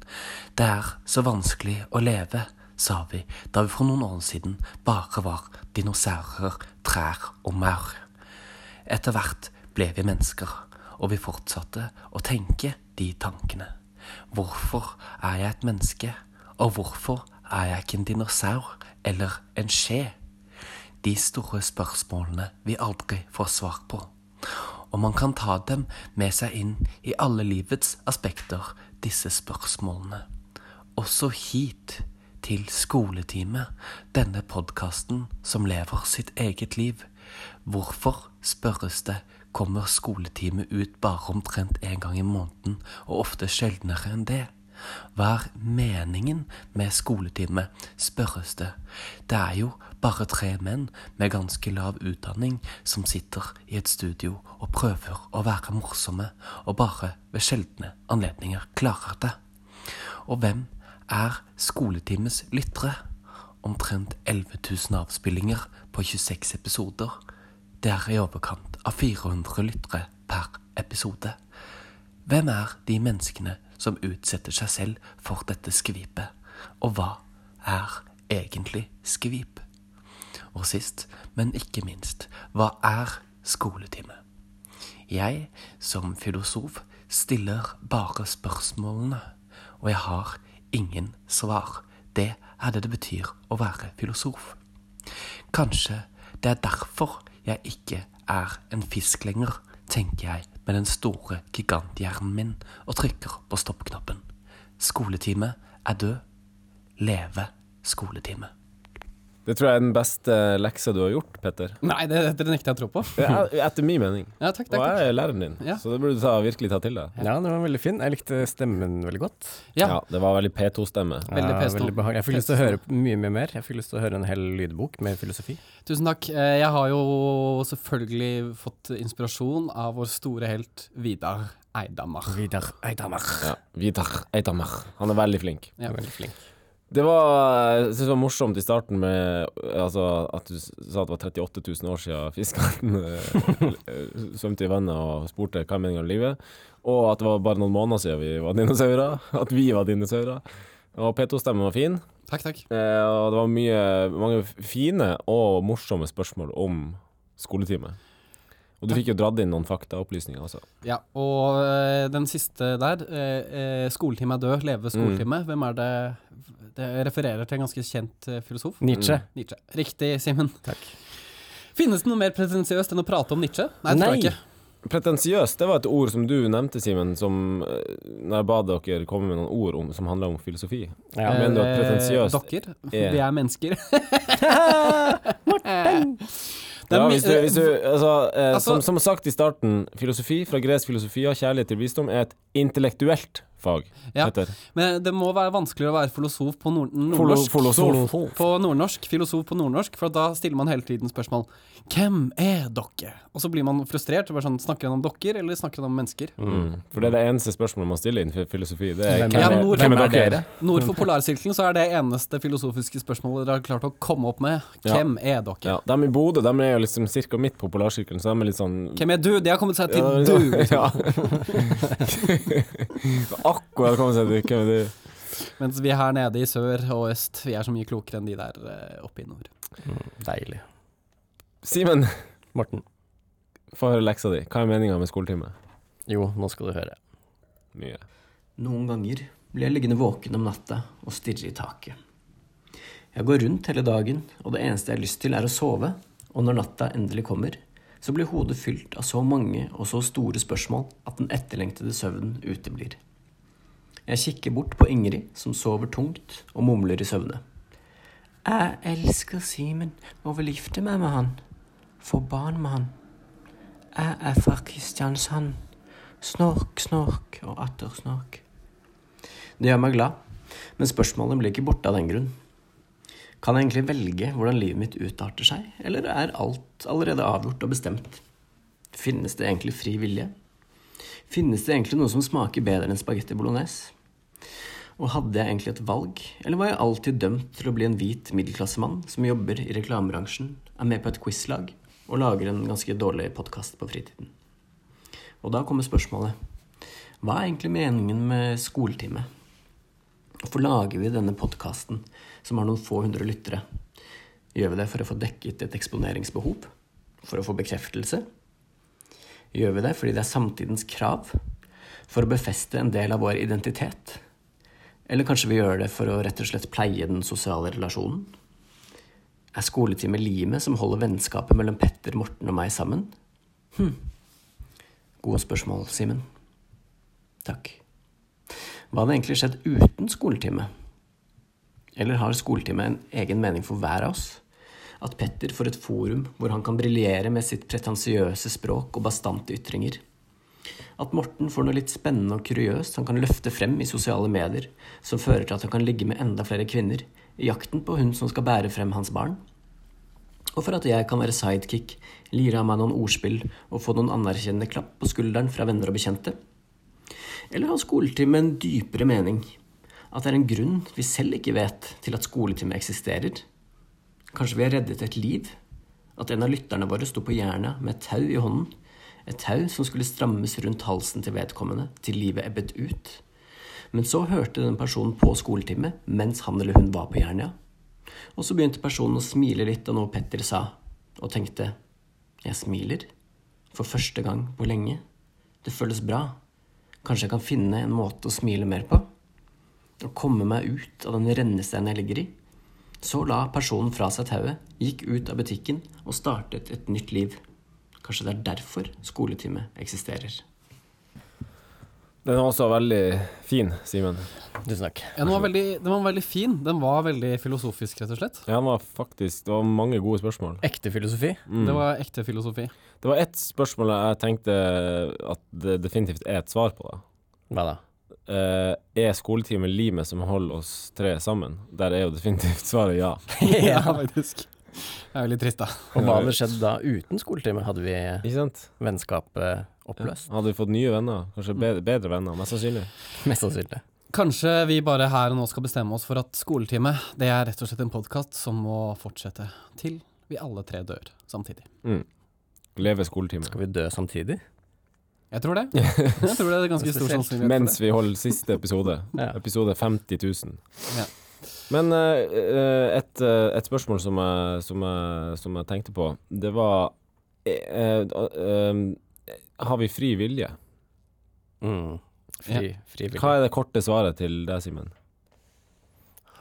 Det er så vanskelig å leve, sa vi da vi for noen år siden bare var dinosaurer, trær og maur. Etter hvert ble vi mennesker, og vi fortsatte å tenke de tankene. Hvorfor er jeg et menneske, og hvorfor er jeg ikke en dinosaur eller en skje? De store spørsmålene vi aldri får svar på. Og man kan ta dem med seg inn i alle livets aspekter, disse spørsmålene. Også hit, til skoletime, denne podkasten som lever sitt eget liv. Hvorfor, spørres det, kommer skoletime ut bare omtrent én gang i måneden, og ofte sjeldnere enn det? Hva er meningen med skoletime, spørres det. Det er jo bare tre menn med ganske lav utdanning som sitter i et studio og prøver å være morsomme, og bare ved sjeldne anledninger klarer det. Og hvem er skoletimes lyttere? Omtrent 11 000 avspillinger på 26 episoder. Det er i overkant av 400 lyttere per episode. Hvem er de menneskene som utsetter seg selv for dette skvipet? Og hva er egentlig skvip? Og sist, men ikke minst, hva er skoletime? Jeg, som filosof, stiller bare spørsmålene, og jeg har ingen svar. Det er det det betyr å være filosof. Kanskje det er derfor jeg ikke er en fisk lenger, tenker jeg med den store giganthjernen min og trykker på stoppknappen. Skoletime er død. Leve skoletime. Det tror jeg er den beste eh, leksa du har gjort, Petter. Nei, det, det nekter jeg å tro på. Det er, etter min mening. Ja, takk, takk, Og takk. jeg er læreren din, Ja. så det burde du ta, virkelig ta til deg. Ja, den var veldig fin. Jeg likte stemmen veldig godt. Ja. Ja, det var veldig P2-stemme. Veldig Ja, pesto. veldig behagelig. Jeg fikk lyst til å høre mye mye mer. Jeg fikk lyst til å høre en hel lydbok med filosofi. Tusen takk. Eh, Jeg har jo selvfølgelig fått inspirasjon av vår store helt Vidar Eidammer. Vidar Eidhammer. Ja. Vidar Eitamar. Han er veldig flink. Ja. Veldig flink. Det var, jeg synes det var morsomt i starten med altså, at du s- sa at det var 38 000 år siden fisken eh, svømte i vannet og spurte hva er meningen med livet, og at det var bare noen måneder siden vi var dinosaurer. At vi var dinosaurer. Og P2-stemmen var fin, Takk, takk. eh, og det var mye, mange fine og morsomme spørsmål om skoletime. Og du fikk jo dratt inn noen faktaopplysninger også. Ja, og eh, den siste der, eh, eh, skoletime er død, leve skoletime. Hvem er det Det refererer til en ganske kjent eh, filosof. Nietzsche. Nietzsche. Riktig, Simen. Takk. Finnes det noe mer pretensiøst enn å prate om Nietzsche? Nei, det tror jeg Nei. ikke. Pretensiøs, det var et ord som du nevnte, Simen, som eh, når jeg ba dere komme med noen ord om, som handla om filosofi. Mm. Ja. mener du at Eh, pretensiøst Dere, er- vi er mennesker. Det er Ja, mi- hvis du, hvis du, altså, eh, Altså- som, som sagt i starten, filosofi fra gresk filosofi og kjærlighet til visdom er et intellektuelt fag. Ja. Petter. Men det må være vanskeligere å være filosof på nord Folo- nordnorsk. Filosof. På nordnorsk, filosof på nordnorsk, for da stiller man hele tiden spørsmål Hvem er dere? Og så blir man frustrert. og Bare sånn, snakker han om dere, eller snakker han om mennesker? Mm. For det er det eneste spørsmålet man stiller innenfor filosofi. Det er Hvem hvem er, Ja, men hvor- hvem hvem er er dere? dere? Nord for polarsirkelen så er det eneste filosofiske spørsmålet dere har klart å komme opp med. Ja. Hvem er dere? Ja, de i Bodø de er jo liksom cirka midt på polarsirkelen, så de er litt sånn Hvem er du? De har kommet seg til Ja, du. liksom. Ja. Akkurat kom jeg til hvem er du? Mens vi her nede i sør og øst, vi er så mye klokere enn de der eh, oppe i nord. Deilig. Simen, Morten. få høre leksa di. Hva er meninga med skoletime? Jo, nå skal du høre. Mye. Noen ganger blir jeg liggende våken om natta og stirre i taket. Jeg går rundt hele dagen, og det eneste jeg har lyst til, er å sove. Og når natta endelig kommer, så blir hodet fylt av så mange og så store spørsmål at den etterlengtede søvnen uteblir. Jeg kikker bort på Ingrid, som sover tungt og mumler i søvne. Jeg elsker Simen og vil gifte meg med han. Få barn med han. Jeg er fra Kristiansand. Snork, snork og atter snork. Det gjør meg glad, men spørsmålene blir ikke borte av den grunn. Kan jeg egentlig velge hvordan livet mitt utarter seg, eller er alt allerede avgjort og bestemt? Finnes det egentlig fri vilje? Finnes det egentlig noe som smaker bedre enn spagetti bolognese? Og hadde jeg egentlig et valg, eller var jeg alltid dømt til å bli en hvit middelklassemann som jobber i reklamebransjen, er med på et quizlag og lager en ganske dårlig podkast på fritiden? Og da kommer spørsmålet. Hva er egentlig meningen med skoletime? Hvorfor lager vi denne podkasten, som har noen få hundre lyttere? Gjør vi det for å få dekket et eksponeringsbehov? For å få bekreftelse? Gjør vi det fordi det er samtidens krav? For å befeste en del av vår identitet? Eller kanskje vi gjør det for å rett og slett pleie den sosiale relasjonen? Er skoletime limet som holder vennskapet mellom Petter, Morten og meg sammen? Hm. Gode spørsmål, Simen. Takk. Hva hadde egentlig skjedd uten skoletime? Eller har skoletime en egen mening for hver av oss? At Petter får et forum hvor han kan briljere med sitt pretensiøse språk og bastante ytringer? At Morten får noe litt spennende og kuriøst han kan løfte frem i sosiale medier, som fører til at han kan ligge med enda flere kvinner i jakten på hun som skal bære frem hans barn? Og for at jeg kan være sidekick, lire av meg noen ordspill og få noen anerkjennende klapp på skulderen fra venner og bekjente? Eller har skoletime en dypere mening? At det er en grunn vi selv ikke vet til at skoletime eksisterer? Kanskje vi har reddet et liv? At en av lytterne våre sto på jernet med et tau i hånden? Et tau som skulle strammes rundt halsen til vedkommende til livet ebbet ut? Men så hørte den personen på skoletime mens han eller hun var på Jernia. Og så begynte personen å smile litt av noe Petter sa, og tenkte Jeg smiler? For første gang på lenge? Det føles bra. Kanskje jeg kan finne en måte å smile mer på? Å komme meg ut av den rennesteinen jeg ligger i? Så la personen fra seg tauet, gikk ut av butikken og startet et nytt liv. Kanskje det er derfor skoletime eksisterer. Den er også veldig fin, Simen. Tusen takk. Ja, den, var veldig, den var veldig fin. Den var veldig filosofisk, rett og slett. Ja, den var faktisk Det var mange gode spørsmål. Ekte filosofi. Mm. Det var ekte filosofi. Det var ett spørsmål jeg tenkte at det definitivt er et svar på. da Hva da? Eh, Er skoletime limet som holder oss tre sammen? Der er jo definitivt svaret ja. ja, faktisk. Det er veldig trist, da. Og hva hadde skjedd da uten skoletime? Hadde vi Ikke sant? vennskapet oppløst? Hadde vi fått nye venner? Kanskje Mm. bedre, bedre venner, mest sannsynlig. Mest sannsynlig. Kanskje vi bare her og nå skal bestemme oss for at skoletime, det er rett og slett en podkast som må fortsette til vi alle tre dør samtidig. Leve skoletime. Skal vi dø samtidig? Jeg tror det. Jeg tror det er ganske stor sannsynlighet for det. Mens vi holder siste episode. Ja. Episode 50 000. Ja. Men eh, eh, et, eh, et spørsmål som jeg, som, jeg, som jeg tenkte på, det var eh, eh, eh, Har vi fri vilje? Mm. Fri, fri vilje. Hva er det korte svaret til deg, Simen?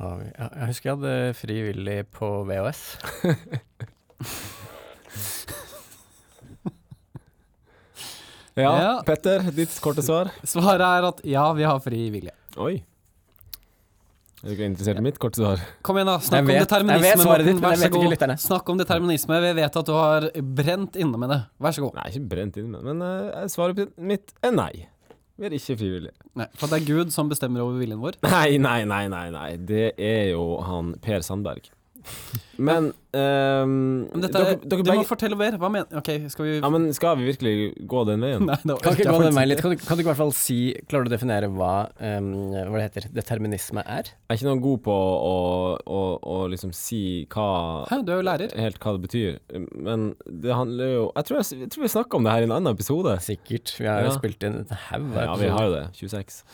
Har vi- ja, Jeg husker jeg hadde fri villig på VHS. Ja. Petter, ditt korte svar? Svaret er at ja, vi har fri vilje. Oi. Er du ikke interessert i mitt korte svar? Kom igjen, da. Snakk Jeg om vet- determinisme. jeg vet svaret Morten. ditt, men Vær jeg vet så ikke god. lytterne. Snakk om determinisme. Vi vet at du har brent inne med det. Vær så god. Nei, ikke brent inn, men- men eh, svaret mitt er nei. Vi er ikke frivillige. Nei, for det er Gud som bestemmer over viljen vår. Nei, nei, nei, nei, nei. Det er jo han Per Sandberg. Men, ehm, Men dette, dere, er- dere du må begge fortelle mer. Hva mener Ok, skal vi Ja, men skal vi virkelig gå den veien? Nei, det Kan orker ikke jeg gå den faktisk veien ikke. litt? Kan du, kan du ikke i hvert fall si Klarer du å definere hva, em, hva det heter, determinisme er? Jeg er ikke noe god på å, å, å liksom si hva Hæ, du er jo lærer. Helt hva det betyr. Men det handler jo Jeg tror, jeg, jeg, tror vi snakka om det her i en annen episode. Sikkert. Vi har jo Ja. spilt inn en haug av Ja, vi har episoder. jo det. 26.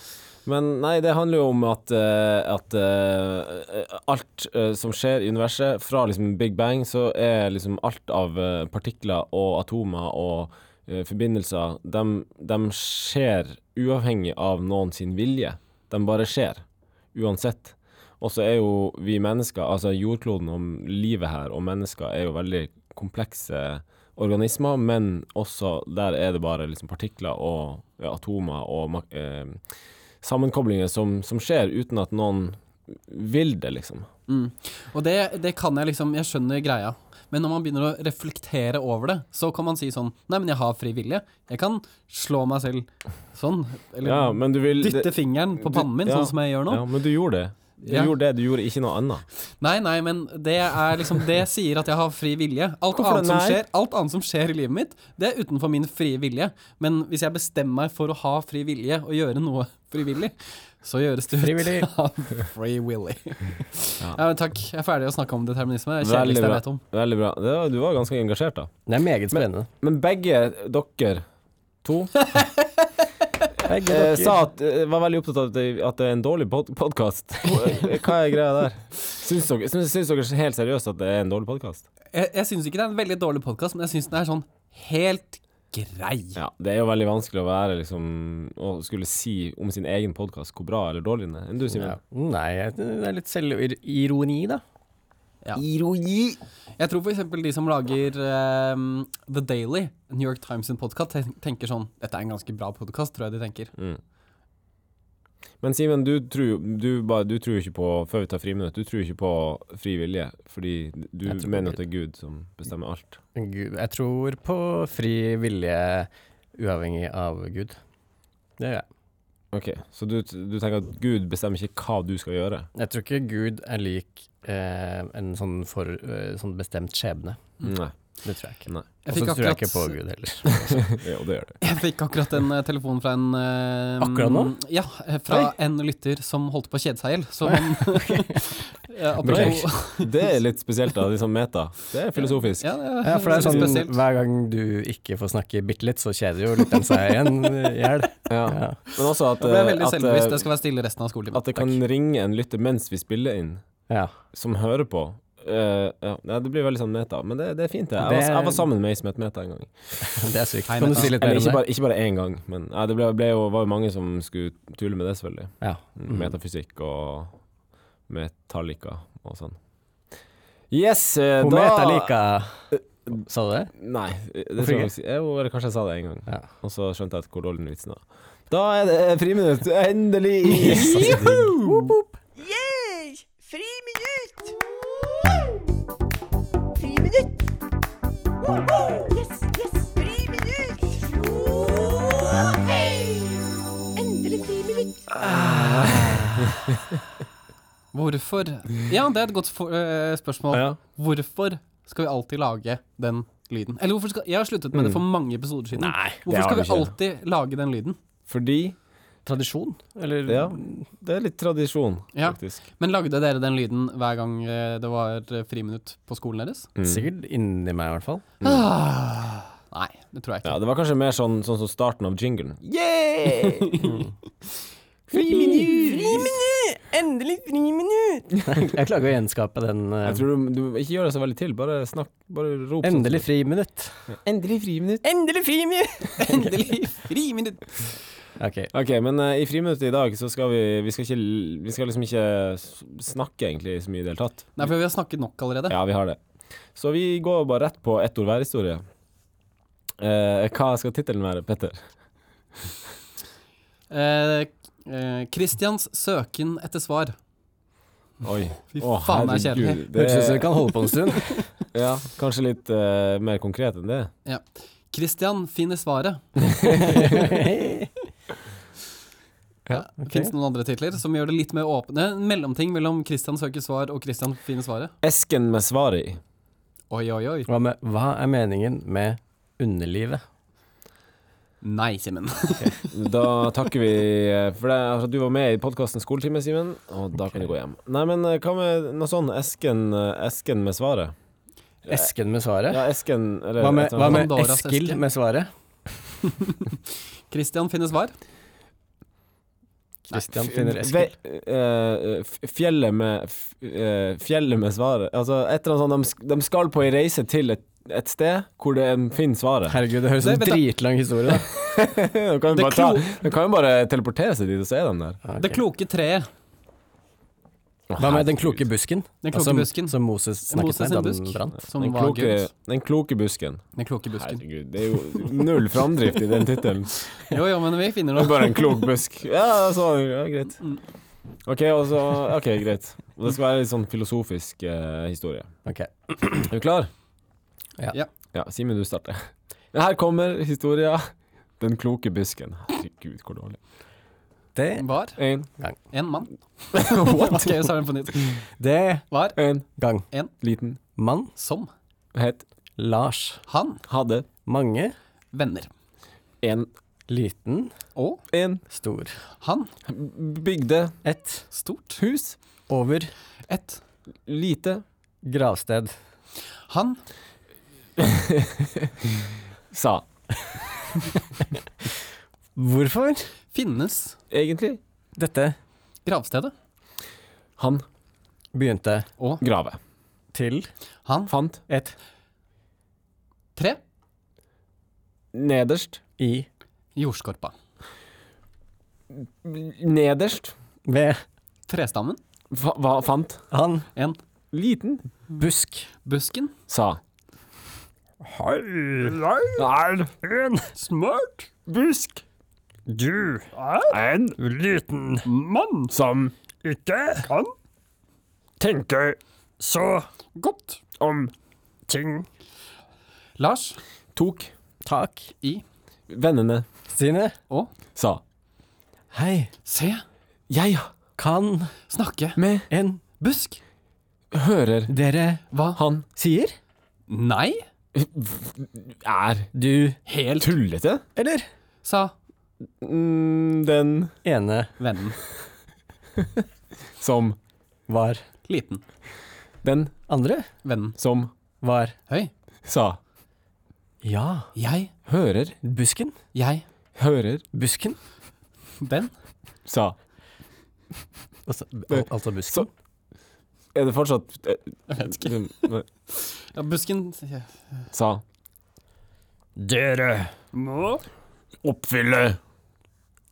Men nei, det handler jo om at, eh, at eh, alt eh, som skjer i universet, fra liksom Big Bang, så er liksom alt av eh, partikler og atomer og eh, forbindelser, dem, dem skjer uavhengig av noen sin vilje. De bare skjer, uansett. Og så er jo vi mennesker, altså jordkloden og livet her og mennesker er jo veldig komplekse organismer, men også der er det bare liksom partikler og ja, atomer og mak- eh, sammenkoblinger som, som skjer uten at noen vil det, liksom. Og det, det kan jeg liksom, jeg skjønner greia. Men når man begynner å reflektere over det, så kan man si sånn Nei, men jeg har fri vilje. Jeg kan slå meg selv sånn. Eller Ja, men du vil dytte det- fingeren på du- pannen min, ja, sånn som jeg gjør nå. Ja, men du gjorde det. Du Ja. gjorde det, du gjorde ikke noe annet. Nei, nei, men det er liksom Det sier at jeg har fri vilje. Alt Hvorfor annet, som nei? skjer, alt annet som skjer i livet mitt, det er utenfor min frie vilje. Men hvis jeg bestemmer meg for å ha fri vilje og gjøre noe frivillig, så gjøres det ut Frivillig. av free willy. Ja. men takk. Jeg er ferdig å snakke om determinisme. Det er det Veldig kjedeligste jeg bra. vet om. Veldig bra. Det var, du var ganske engasjert, da. Det er meget spennende. Men begge dere to Begge eh, dere- sa at eh, var veldig opptatt av at det, at det er en dårlig pod podkast. Hva er greia der? Syns dere, syns, syns dere helt seriøst at det er en dårlig podkast? Jeg, jeg syns ikke det er en veldig dårlig podkast, men jeg syns den er sånn helt grei. Ja, det er jo veldig vanskelig å være liksom Å skulle si om sin egen podkast hvor bra eller dårlig den er. Enn du, Simen? ja. Nei, det er litt selvironi, da. Jeg tror f.eks. de som lager ehm, The Daily, New York Times sin podkast, tenker sånn Dette er en ganske bra podkast, tror jeg de tenker. Mm. Men Simen, du tror jo du, bare- du tror jo ikke på Før vi tar friminutt, du tror jo ikke på fri vilje. Fordi du Jeg tror på mener at det Gud. er Gud som bestemmer alt. Gud, jeg tror på fri vilje uavhengig av Gud. Det gjør jeg. Ok, Så du, du tenker at Gud bestemmer ikke hva du skal gjøre? Jeg tror ikke Gud er lik eh, en sånn, for, eh, sånn bestemt skjebne. Nei. Det tror jeg ikke. Nei. Og Jeg så fikk tror jeg ikke på akkurat, Gud heller. Jo, det gjør det. jeg fikk akkurat en eh, telefon fra en ehm, Akkurat nå? Ja, eh, fra en lytter som holdt på å kjede seg i hjel. Så han Eh, Apropos Det er litt spesielt, da. Liksom meta. Det er filosofisk. ja, det Ja, for det er sånn spesielt. hver gang du ikke får snakke bitte litt, så kjeder jo lytteren seg igjen i hjel. Ja. Men også at, Det ble veldig at, selvbevisst. eh, Det skal være stille resten av skoletimen. at det kan ringe en lytter mens vi spiller inn. Ja. som hører på. Eh, ja, nei, det blir veldig sånn meta, men det, det er fint, det. Jeg, Det- var, jeg var sammen med ei som het Meta en gang. Det er sykt. Hei, Kan du Mette. si litt Eller mer ikke om det? bare, ikke bare én gang, men nei, det ble, ble jo, var jo mange som skulle Mm. tulle med det, selvfølgelig. Ja. Metafysikk og metallika og sånn. Yes, eh, Komet er da Eh, like Sa du det? Nei, det Hvorfor tror jeg ikke? faktisk Jo, eller kanskje jeg sa det en gang, Ja. og så skjønte jeg hvor dårlig den vitsen var. Da er det eh, friminutt, endelig! Yes, Yay! Friminutt! Friminutt! Woho! Yes, yes! Friminutt! Hei! Endelig friminutt! Hvorfor Ja, det er et godt for, eh, spørsmål. Ja. Hvorfor skal vi alltid lage den lyden? Eller hvorfor skal Jeg har sluttet med det for mange episoder siden. Mm. Nei, det hvorfor har skal du vi ikke. alltid lage den lyden? Fordi Tradisjon? Eller Ja, det er litt tradisjon, Ja. faktisk. Men lagde dere den lyden hver gang eh, det var eh, friminutt på skolen deres? mm. Ah, sikkert inni meg, i hvert fall. Nei, det tror jeg ikke. Ja, det var kanskje mer sånn, sånn som starten av jinglen. Friminutt! Endelig friminutt! Jeg klarer ikke å gjenskape den. eh, Jeg tror du, du ikke gjør det så veldig til, bare snakk, bare rop. sånn. Endelig friminutt. Endelig friminutt. Endelig friminutt! Endelig friminutt! Ok, Ok, men eh, i friminuttet i dag så skal vi Vi skal, ikke, l- vi skal liksom ikke s- snakke egentlig så mye i det hele tatt. Nei, for vi har snakket nok allerede. Ja, vi har det. Så vi går bare rett på ett ord hver-historie. Eh, hva skal tittelen være, Petter? Eh, eh, Christians søken etter svar. Oi. Fy faen, det er kjedelig. Det Høres ut som er, vi kan holde på en stund. ja, kanskje litt eh, mer konkret enn det. Ja. Christian finner svaret. Ja, ok. Fins det noen andre titler som gjør det litt mer åpne? En mellomting mellom Christian søker svar og Christian finner svaret? Esken med svaret i. Oi, oi, oi. Hva, med, hva er meningen med underlivet? Nei, Simen. Da takker vi eh, for det, at du var med i podkasten Skoletime, Simen. Og da kan du gå hjem. Nei, men eh, hva med noe sånn Esken, eh, esken med svaret? Esken med svaret? Ja, Esken eller Hva et med, hva eller annet. med Pandoras Eskil eske. med svaret? Christian finner svar. Christian finner Eskil. Ve, eh, f- fjellet med f- eh, Fjellet med svaret. Altså, et eller annet sånt, de, sk- de skal på ei reise til et, et sted hvor de finner svaret. Herregud, det høres ut som Nei, en vent da. dritlang historie. da. De kan, jo Det bare ta, de kan jo bare teleportere seg dit, og så er de der. Det kloke treet. Hva med den kloke busken? Den kloke som, busken. Som Moses snakket Moses med da en den busk. brant. Som Den var kloke, Gud. den kloke busken. Den kloke busken. Herregud, det er jo null framdrift i den tittelen. Jo, jo, men vi finner Det er noe. bare en klok busk. Ja, så, ja greit. Mm. OK, og så, ok, greit. Og det skal være litt sånn filosofisk eh, historie. Ok. Er du klar? Ja. Ja. Ja, Simen, du starter. Her kommer historia Den kloke busken. Herregud, hvor dårlig. Det, Var Én, en mann. What? Ok, så er den på nytt. det Var én, gang. liten, Mann, som het, Lars, han hadde, mange, venner. en, liten, Og en, stor. han bygde, Et, stort hus, over, et. lite, gravsted. Han sa. Hvorfor? finnes Egentlig Dette gravstedet. han begynte Og grave. til han Fant et tre nederst, i jordskorpa. nederst, ved Trestammen. fa, hva fant, han En liten, busk. busken. sa. Nei, En smart busk, du en liten mann som ikke kan tenke så Godt. om ting. Lars tok Tak i vennene, sine. og sa. Hei, se Jeg kan snakke med en busk. hører dere Hva? han sier? Nei, er Du helt tullete. eller sa Mm, den ene vennen. som var Liten. Den andre Vennen. som var Høy. sa. ja. Jeg. Hører, Busken, Jeg. hører, busken. Den. sa. Altså, al- altså busken. Så- Er det fortsatt eh, nei, Ja, busken Sa. Dere må Oppfylle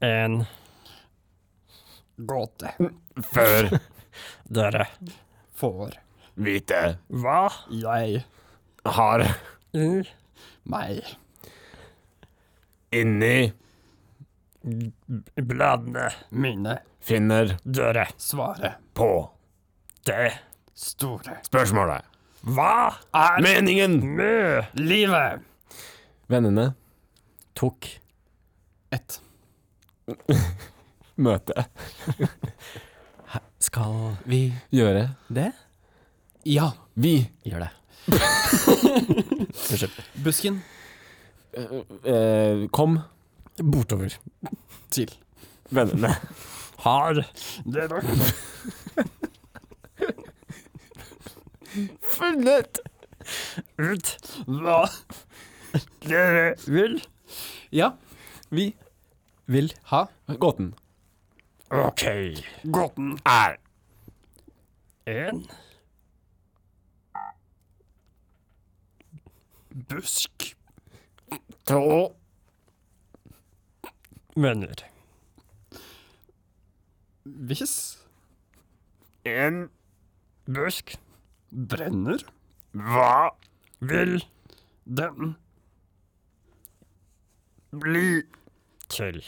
en gåte før dere får vite Hva? Jeg. har Meg. inni Bladene. Mine. finner Døre. Svaret. på Det. Store. spørsmålet. Hva er Meningen! mø? Livet. Vennene Tok. Ett. møte Skal vi gjøre det? Ja. vi Gjør det. Busken. eh, kom Bortover. Til. vennene Har. Det er nok. funnet Ut. Hva? Dere vil. Ja. vi Vil. Ha. gåten Ok. Gåten er En Busk to Venner Hvis. en Busk Brenner. Hva vil den bli til?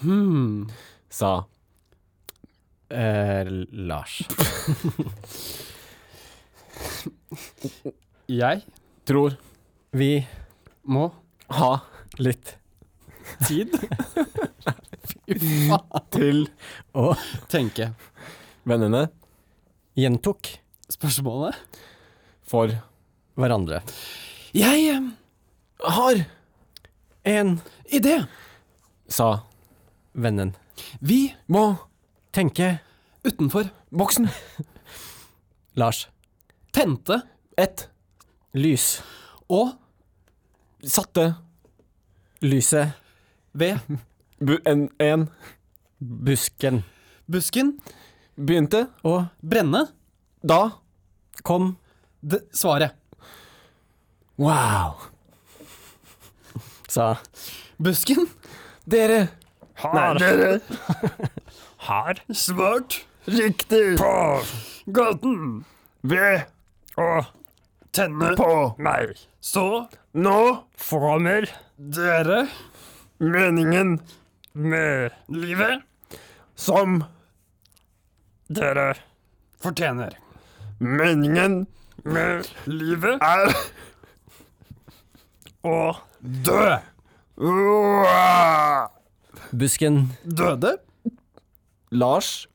Hmm. sa Lars. Jeg tror Vi må ha litt tid til tenke. vennene gjentok Spørsmålet for hverandre. Jeg eh, har En idé. sa vennen. Vi må Tenke utenfor boksen Lars. tente ett Lys. og satte Lyset. ved bu en, en Busken. busken begynte Og brenne da kom d svaret. wow sa Busken dere Har Har svart riktig på gaten ved å tenne på meg. Så Nå former dere meningen med livet som dere fortjener. meningen med Livet er å dø. Busken Døde. Lars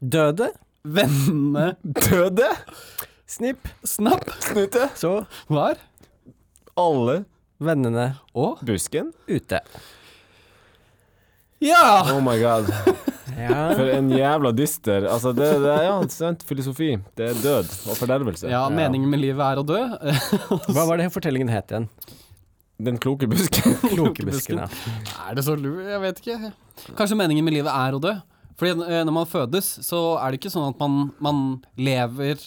døde. Vennene døde Snipp, snapp Snute så var alle vennene og busken ute. Ja! Oh my god Ja. For en jævla dyster Altså det, det er ja, sant, filosofi Det er død og fordervelse Ja, meningen med livet er å dø. Hva var det fortellingen het igjen? Den kloke busken Klokebusken. Ja. Er det så lur? Jeg vet ikke. Kanskje meningen med livet er å dø? Fordi eh, når man fødes, så er det ikke sånn at man, man lever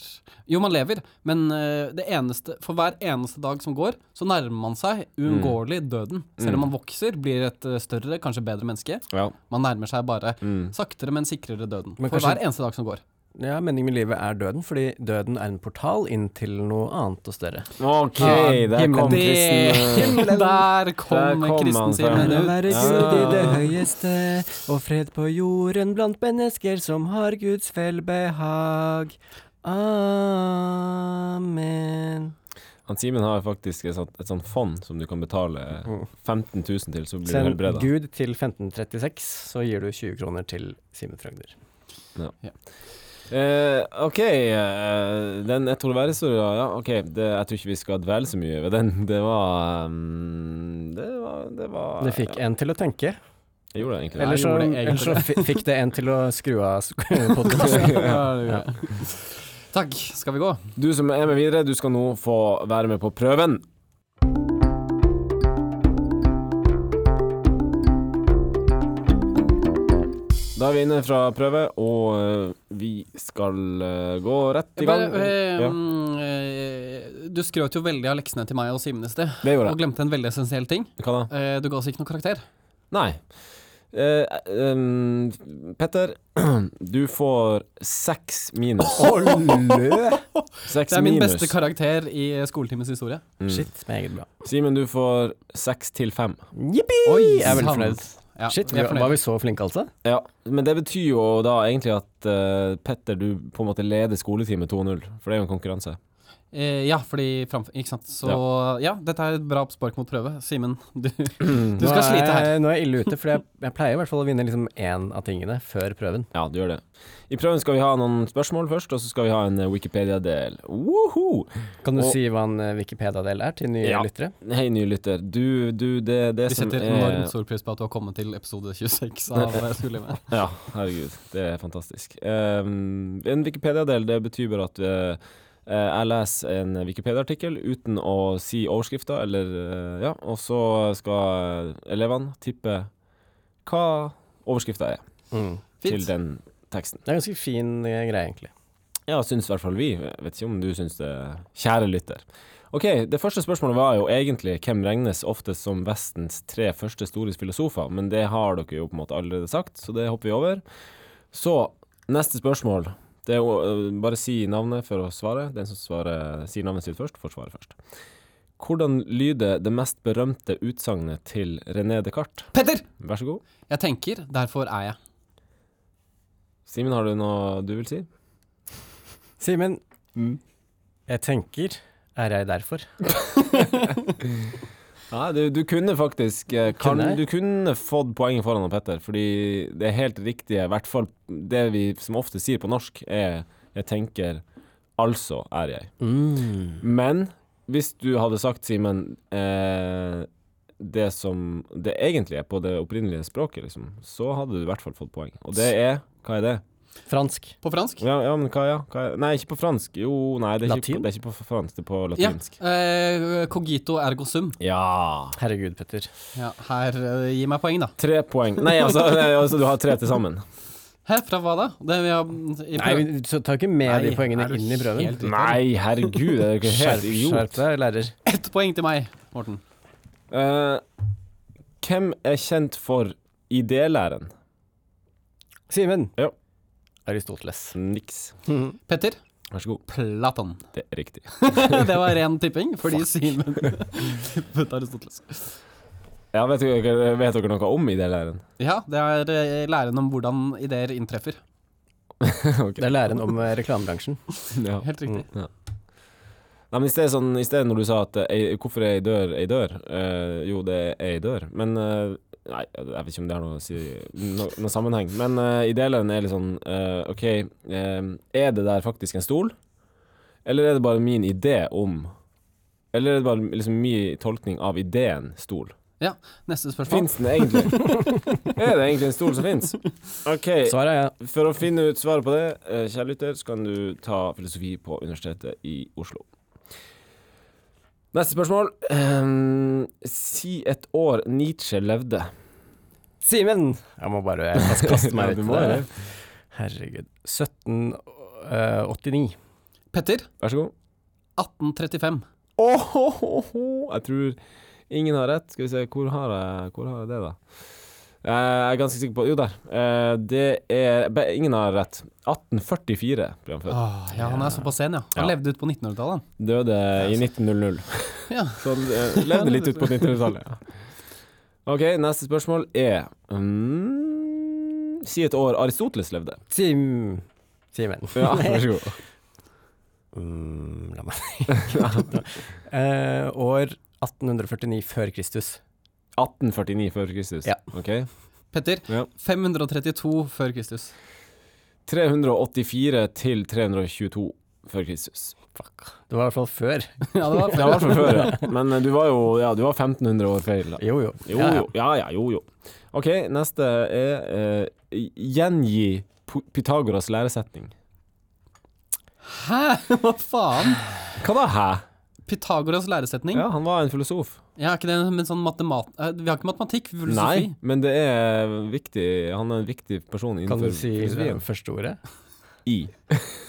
Jo, man lever, men eh, det eneste, for hver eneste dag som går, så nærmer man seg uunngåelig døden. Selv om man vokser, blir et eh, større, kanskje bedre menneske. Ja Man nærmer seg bare Mm. saktere, men sikrere døden. Men for kanskje- hver eneste dag som går. Ja, meningen med livet er døden, fordi døden er en portal inn til noe annet og større. Ok, der himmelen. kom kristen Det, der Der kom kom han fram. kristensimen Ja, ut. være Ja. Gud i det høyeste, og fred på jorden blant mennesker som har Guds velbehag. Amen. Han Simen har faktisk et sånt, et sånt fond som du kan betale 15 000 til, så blir du Send helbreda. Gud til 1536, så gir du 20 kroner til Simen Frogner. Eh, ok, eh, den Jeg tror det være så ja, ok, det, jeg tror ikke vi skal dvele så mye ved den. Det var mm, Det var, det var Det fikk ja, en til å tenke, Jeg gjorde det egentlig. eller så, gjorde egentlig eller så fi- fikk det en til å skru av podkasten. Ja. Takk. Skal vi gå? Du som er med videre, du skal nå få være med på prøven. Da er vi inne fra prøve, og eh, vi skal eh, gå rett i gang. Bare, eh, Ja, mm, eh, Du skrøt jo veldig av leksene til meg og Simen i sted, det gjorde og jeg. glemte en veldig essensiell ting. Hva da? Eh, Du ga oss ikke noe karakter. Nei. Eh, em, Petter, du får seks minus. Seks Det er min minus. beste karakter i skoletimens historie. Shit, meget bra. Simen, du får seks til fem. Jippi! Oi, jeg er veldig fornøyd. Ja, Shit, vi er var fornøyd. vi så flinke, altså? Ja, men det betyr jo da egentlig at eh, Petter, du på en måte leder skoletime 2-0, for det er jo en konkurranse. Eh, ja, fordi framfor Ikke sant. Så ja, dette er et bra oppspark mot prøve. Simen, du, du skal nå er slite her. Jeg, nå er jeg ille ute, for jeg, jeg pleier i hvert fall å vinne liksom én av tingene før prøven. Ja, du gjør det. I prøven skal vi ha noen spørsmål først, og så skal vi ha en eh, Wikipedia-del. Woho! Kan du Og- si hva en eh, Wikipedia-del er til nye Ja. lyttere? Hei, nye lytter. Du, du, det, det Vi som setter eh, er enormt stor pris på at du har kommet til episode 26 av eh, Skolelivet. Ja, herregud. Det er fantastisk. Ehm, en Wikipedia-del, det betyr bare at eh, eh, jeg leser en Wikipedia-artikkel uten å si overskrifta, eller eh, Ja, og så skal elevene tippe hva overskrifta er Mm. til Fint. den teksten. Det er en ganske fin eh, greie, egentlig. Ja, syns i hvert fall vi. Jeg vet ikke om du syns det, kjære lytter. Ok, Det første spørsmålet var jo egentlig hvem regnes oftest som Vestens tre første store filosofer, men det har dere jo på en måte allerede sagt, så det hopper vi over. Så neste spørsmål. Det er jo øh, bare si navnet for å svare. Den som svarer, sier navnet sitt først, får svare først. Hvordan lyder det mest berømte utsagnet til René Descartes? Petter! Vær så god. Jeg tenker, derfor er jeg. Simen, har du noe du vil si? Simen, jeg tenker er jeg derfor? Nei, du, du kunne faktisk eh, kan, Kunne jeg? Du kunne fått poenget foran han, Petter, fordi det er helt riktige, i hvert fall det vi som ofte sier på norsk, er 'jeg tenker, altså er jeg'. Mm. Men hvis du hadde sagt, Simen, eh, det som det egentlig er på det opprinnelige språket, liksom, så hadde du i hvert fall fått poeng. Og det er Hva er det? Fransk. På fransk? Ja, ja men hva, ja, hva er Nei, ikke på fransk. Jo, nei, det er, ikke, Latin? på- det er ikke på fransk, det er på Ja. latinsk. eh, cogito ergo sum. ja. Herregud, Petter. Ja, her, eh, gi meg poeng, da. Tre poeng. Nei, altså, nei, altså du har tre til sammen. Hæ, fra hva da? Det vi har i Nei, prøven. vi- så ta ikke med de Nei, poengene er du inn i prøven. helt- Nei, herregud, er dere helt Skjerp, skjerp idiot? deg, lærer. Ett poeng til meg, Morten. Eh, hvem er kjent for idélæren? Simen. Ja. Aristoteles. Niks. Petter Vær så god. Platon. Det er riktig. det var ren tipping, fordi Simen tippet Aristoteles. Ja, vet, dere, vet dere noe om idélæren? Ja, det er eh, læren om hvordan ideer inntreffer. Det er læren om eh, reklamebransjen. Ja. Helt riktig. Nei, men i stedet, sånn, i stedet når du sa at eh, ei- hvorfor er ei dør ei dør? Eh, jo, det er ei dør, men eh, Nei, jeg vet ikke om det har noe å si no, noe sammenheng. Men uh, idélæren er litt sånn eh, OK, eh, er det der faktisk en stol? Eller er det bare min idé om Eller er det bare liksom min tolkning av ideen stol? Mm. Ja, neste spørsmål. Fins den egentlig? er det egentlig en stol som fins? OK, Svaret er ja. for å finne ut svaret på det, eh, kjære lytter, så kan du ta filosofi på Universitetet i Oslo. Neste spørsmål. Ehm, si et år Nietzsche levde. Simen! Jeg må bare jeg skal kaste Ja, meg du ut i må det. det. Herregud. eh, 1789. Petter Vær så god. 1835. Åhåhåhå. Jeg tror ingen har rett. Skal vi se, hvor har jeg, hvor har jeg det, da? Eh, jeg er ganske sikker på Jo, der. Eh, det er be- Ingen har rett. 1844 ble han født. Åh, ja, han er såpass sen, ja. Han Ja. levde ut på 1900-tallet, han. Døde i 1900. Ja. Så han eh, levde litt ut på 1900-tallet. Ja. Ok, neste spørsmål er mm, Si et år Aristoteles levde. Sim... Simen. Ja, vær så god. Mm, la meg Eh, År 1849 før Kristus. 1849 før Kristus. Ja. Ok. Petter Ja. 532 før Kristus. 384 til 322 før Kristus. Det var i hvert fall før. ja, det var Det var fra før, ja. Men eh, du var jo ja, du var 1500 år feil. Da. Jo, jo. Jo, Ja, ja. jo. Ja, ja, jo, jo. OK, neste er eh, Gjengi P- Pythagoras læresetning. Hæ, hva faen? Hva da, hæ? Pythagoras læresetning? Ja, han var en filosof. Ja, er ikke det en sånn matemat... eh, Vi har ikke matematikk, vi har filosofi. Nei, men det er viktig. Han er en viktig person Kan innenfor du si det filosofien. første ordet? I.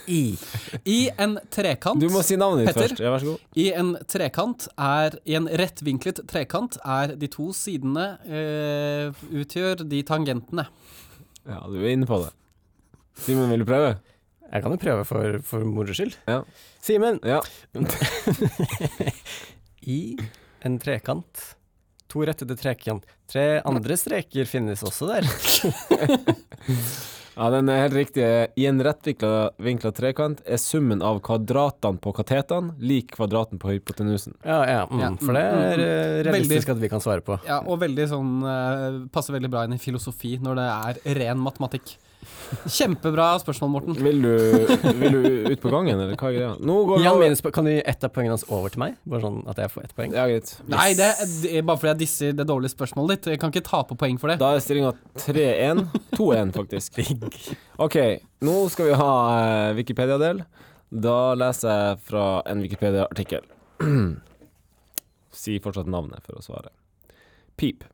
I. I en trekant Du må si navnet ditt Petter? først. Ja, vær så god. I en trekant er I en rettvinklet trekant er de to sidene eh, utgjør de tangentene. Ja, du er inne på det. Simen, vil du prøve? Jeg kan jo prøve for, for moro skyld. Ja. Simen! Ja. I en trekant. To rettede trekant. Tre andre streker finnes også der. Ja, den er helt riktig. I en rettvinkla vinkla trekant er summen av kvadratene på katetene lik kvadraten på hypotenusen. Ja, ja, mm, Ja, for det er eh, mm. realistisk at vi kan svare på. Ja, og veldig sånn eh, Passer veldig bra inn i filosofi når det er ren matematikk. Kjempebra spørsmål, Morten. Vil du, vil du ut på gangen, eller hva er greia? Nå går vi Jan over. minus, kan du gi ett av poengene hans over til meg? Bare sånn at jeg får ett poeng? Ja, greit. Nei, det, det er bare fordi jeg disser det dårlige spørsmålet ditt. Jeg kan ikke tape poeng for det. Da er stillinga 3-1. 2-1, faktisk. OK, nå skal vi ha eh, Wikipedia-del. Da leser jeg fra en Wikipedia-artikkel. si fortsatt navnet for å svare. Pip.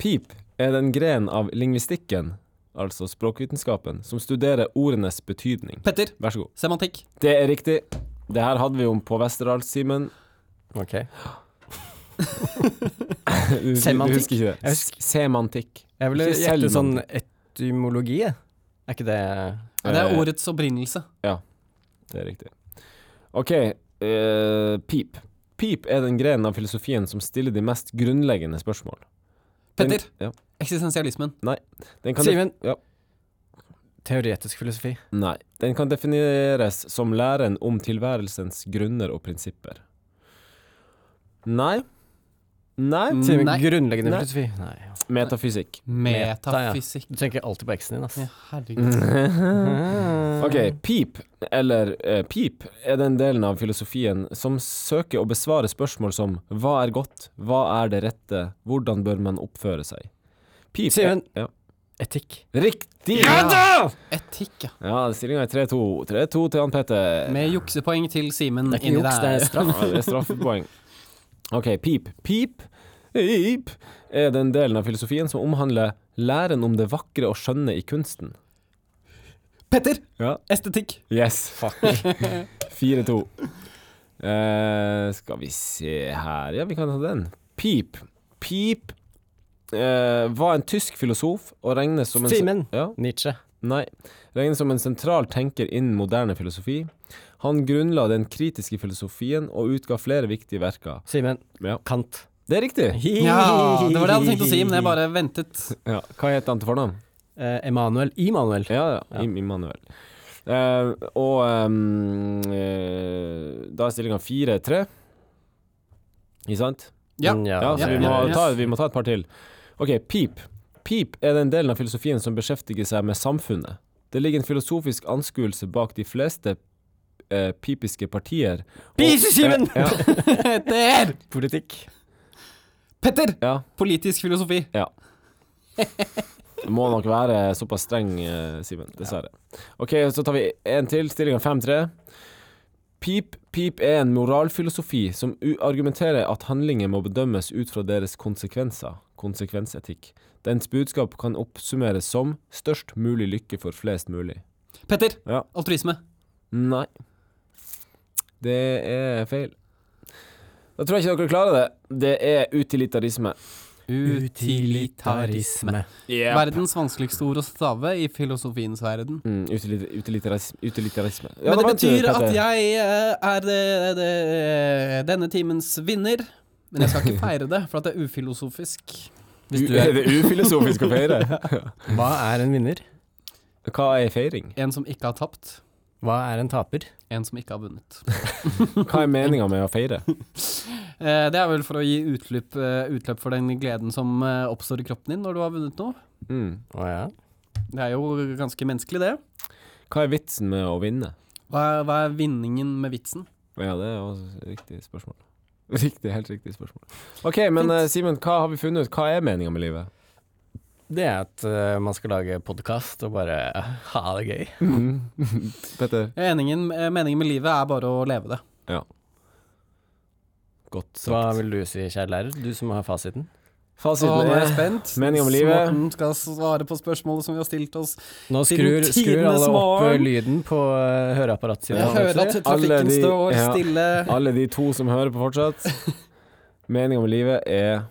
Pip er den gren av lingvistikken, altså språkvitenskapen, som studerer ordenes betydning. Petter, Vær så god. semantikk. Det er riktig. Det her hadde vi om på Westerdals, Simen. Ok. Du- du- du Semantikk. husker ikke det. Jeg husker- Semantikk. Jeg ville Ikke gjette selv- sånn etymologi. jeg. Er ikke det Ja, det Eh, er ordets opprinnelse. Det er riktig. OK, eh, pip. Pip er den grenen av filosofien som stiller de mest grunnleggende spørsmål. Den- Petter, Ja. eksistensialismen. Den kan Simen. def- Ja. teoretisk filosofi? Nei. Den kan defineres som læren om tilværelsens grunner og prinsipper. Nei. Nei. Simen, Nei. Grunnleggende Nei. filosofi? Nei. ja. Metafysikk. Metafysikk. Du tenker alltid på eksen din, ass. Ja, Mm. herregud. Mm. OK, pip, eller eh, pip, er den delen av filosofien som søker å besvare spørsmål som hva er godt, hva er det rette, hvordan bør man oppføre seg? Pip er- Simen. Ja. Etikk. Riktig! Ja Etikk, ja. Ja, stillinga er 3-2. 3-2 til han Petter. Med juksepoeng til Simen Det er ikke inni juks, det der. er straff. Ja, det er straffepoeng. OK, pip. Pip Pip er den delen av filosofien som omhandler læren om det vakre og skjønne i kunsten. Petter, Ja. estetikk. Yes. Fuck. 4-2. Eh, skal vi se her Ja, vi kan ta den. Pip. Pip eh, var en tysk filosof og regnes som en Simen. Ja, Nietzsche. nei. Regnes som en sentral tenker innen moderne filosofi. Han grunnla den kritiske filosofien og utga flere viktige verker. Simen. Ja. Kant. Det er riktig. Ja, det var det jeg hadde tenkt å si, men jeg bare ventet. Ja. Hva het han til fornavn? Eh, Emanuel. Immanuel. Ja, ja. Ja. Im- Immanuel. Eh, og ehm, eh, da er stillinga 4-3. Ikke sant? Ja. Mm, Ja, så det- vi må, ja. ta, vi må ta et par til. OK, pip. Pip er den delen av filosofien som beskjeftiger seg med samfunnet. Det ligger en filosofisk anskuelse bak de fleste eh, pipiske partier. Og- Pise, Simen! Ja, ja, Petter! Politikk. Petter! ja. Politisk filosofi. Det må nok være såpass streng, eh, Simen. Dessverre. OK, så tar vi en til. Stillinga 5-3. Pip, pip er en moralfilosofi som u- argumenterer at handlinger må bedømmes ut fra deres konsekvenser, konsekvensetikk. Dens budskap kan oppsummeres som størst mulig lykke for flest mulig. Petter, Ja. altruisme. Nei. Det er feil. Da tror jeg ikke dere klarer det. Det er utilitarisme. Utilitarisme. Verdens vanskeligste ord å stave i filosofiens verden. Mm, utilit- utilitaris- utilitarisme. Ja, Men da det vant du, betyr at Petter. jeg eh, er eh, det- eh, denne timens vinner. Men jeg skal ikke feire det, for at det er ufilosofisk. Hvis du U- er, det ufilosofisk å feire? hva er en vinner? Hva er feiring? En som ikke har tapt, Hva er en taper? en som ikke har vunnet. Hva er meninga med å feire? Eh, Det er vel for å gi utløp, eh, utløp for den gleden som eh, oppstår i kroppen din når du har vunnet noe. Mm. Å ja. Det er jo ganske menneskelig, det. Hva er vitsen med å vinne? Hva er, hva er vinningen med vitsen? Ja, det er også et riktig spørsmål. Riktig, Helt riktig spørsmål. OK, men eh, Simen, hva har vi funnet ut? Hva er meninga med livet? Det er at eh, man skal lage podkast og bare ha det gøy. Petter? Meningen, eh, meningen med livet er bare å leve det. Godt Så hva sagt. vil du si, kjære lærer? Du som har fasiten. Å, Fasiten nå er jeg er spent. mening om livet. Morten skal svare på spørsmålet som vi har stilt oss. Nå Siden skrur, skrur tidenes alle opp eh, morgen. lyden på eh, høreapparatet sitt. Jeg hører at Alle trafikken de- står ja. stille. alle de to som hører på fortsatt. Mening om livet er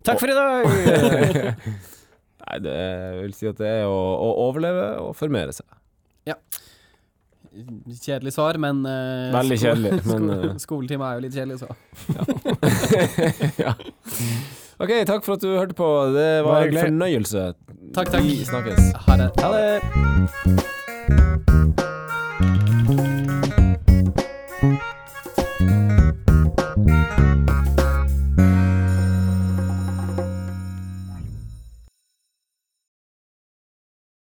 Takk for i dag! Nei, det jeg vil si at det er å, å overleve og formere seg. Kjedelig svar, men eh, Veldig sko- kjedelig, men, sko- eh. Skoletime er jo litt kjedelig, så. ja. OK, takk for at du hørte på. Det var Bare en hyggelig. fornøyelse. Takk, takk. Vi snakkes. Ha det. Ha det!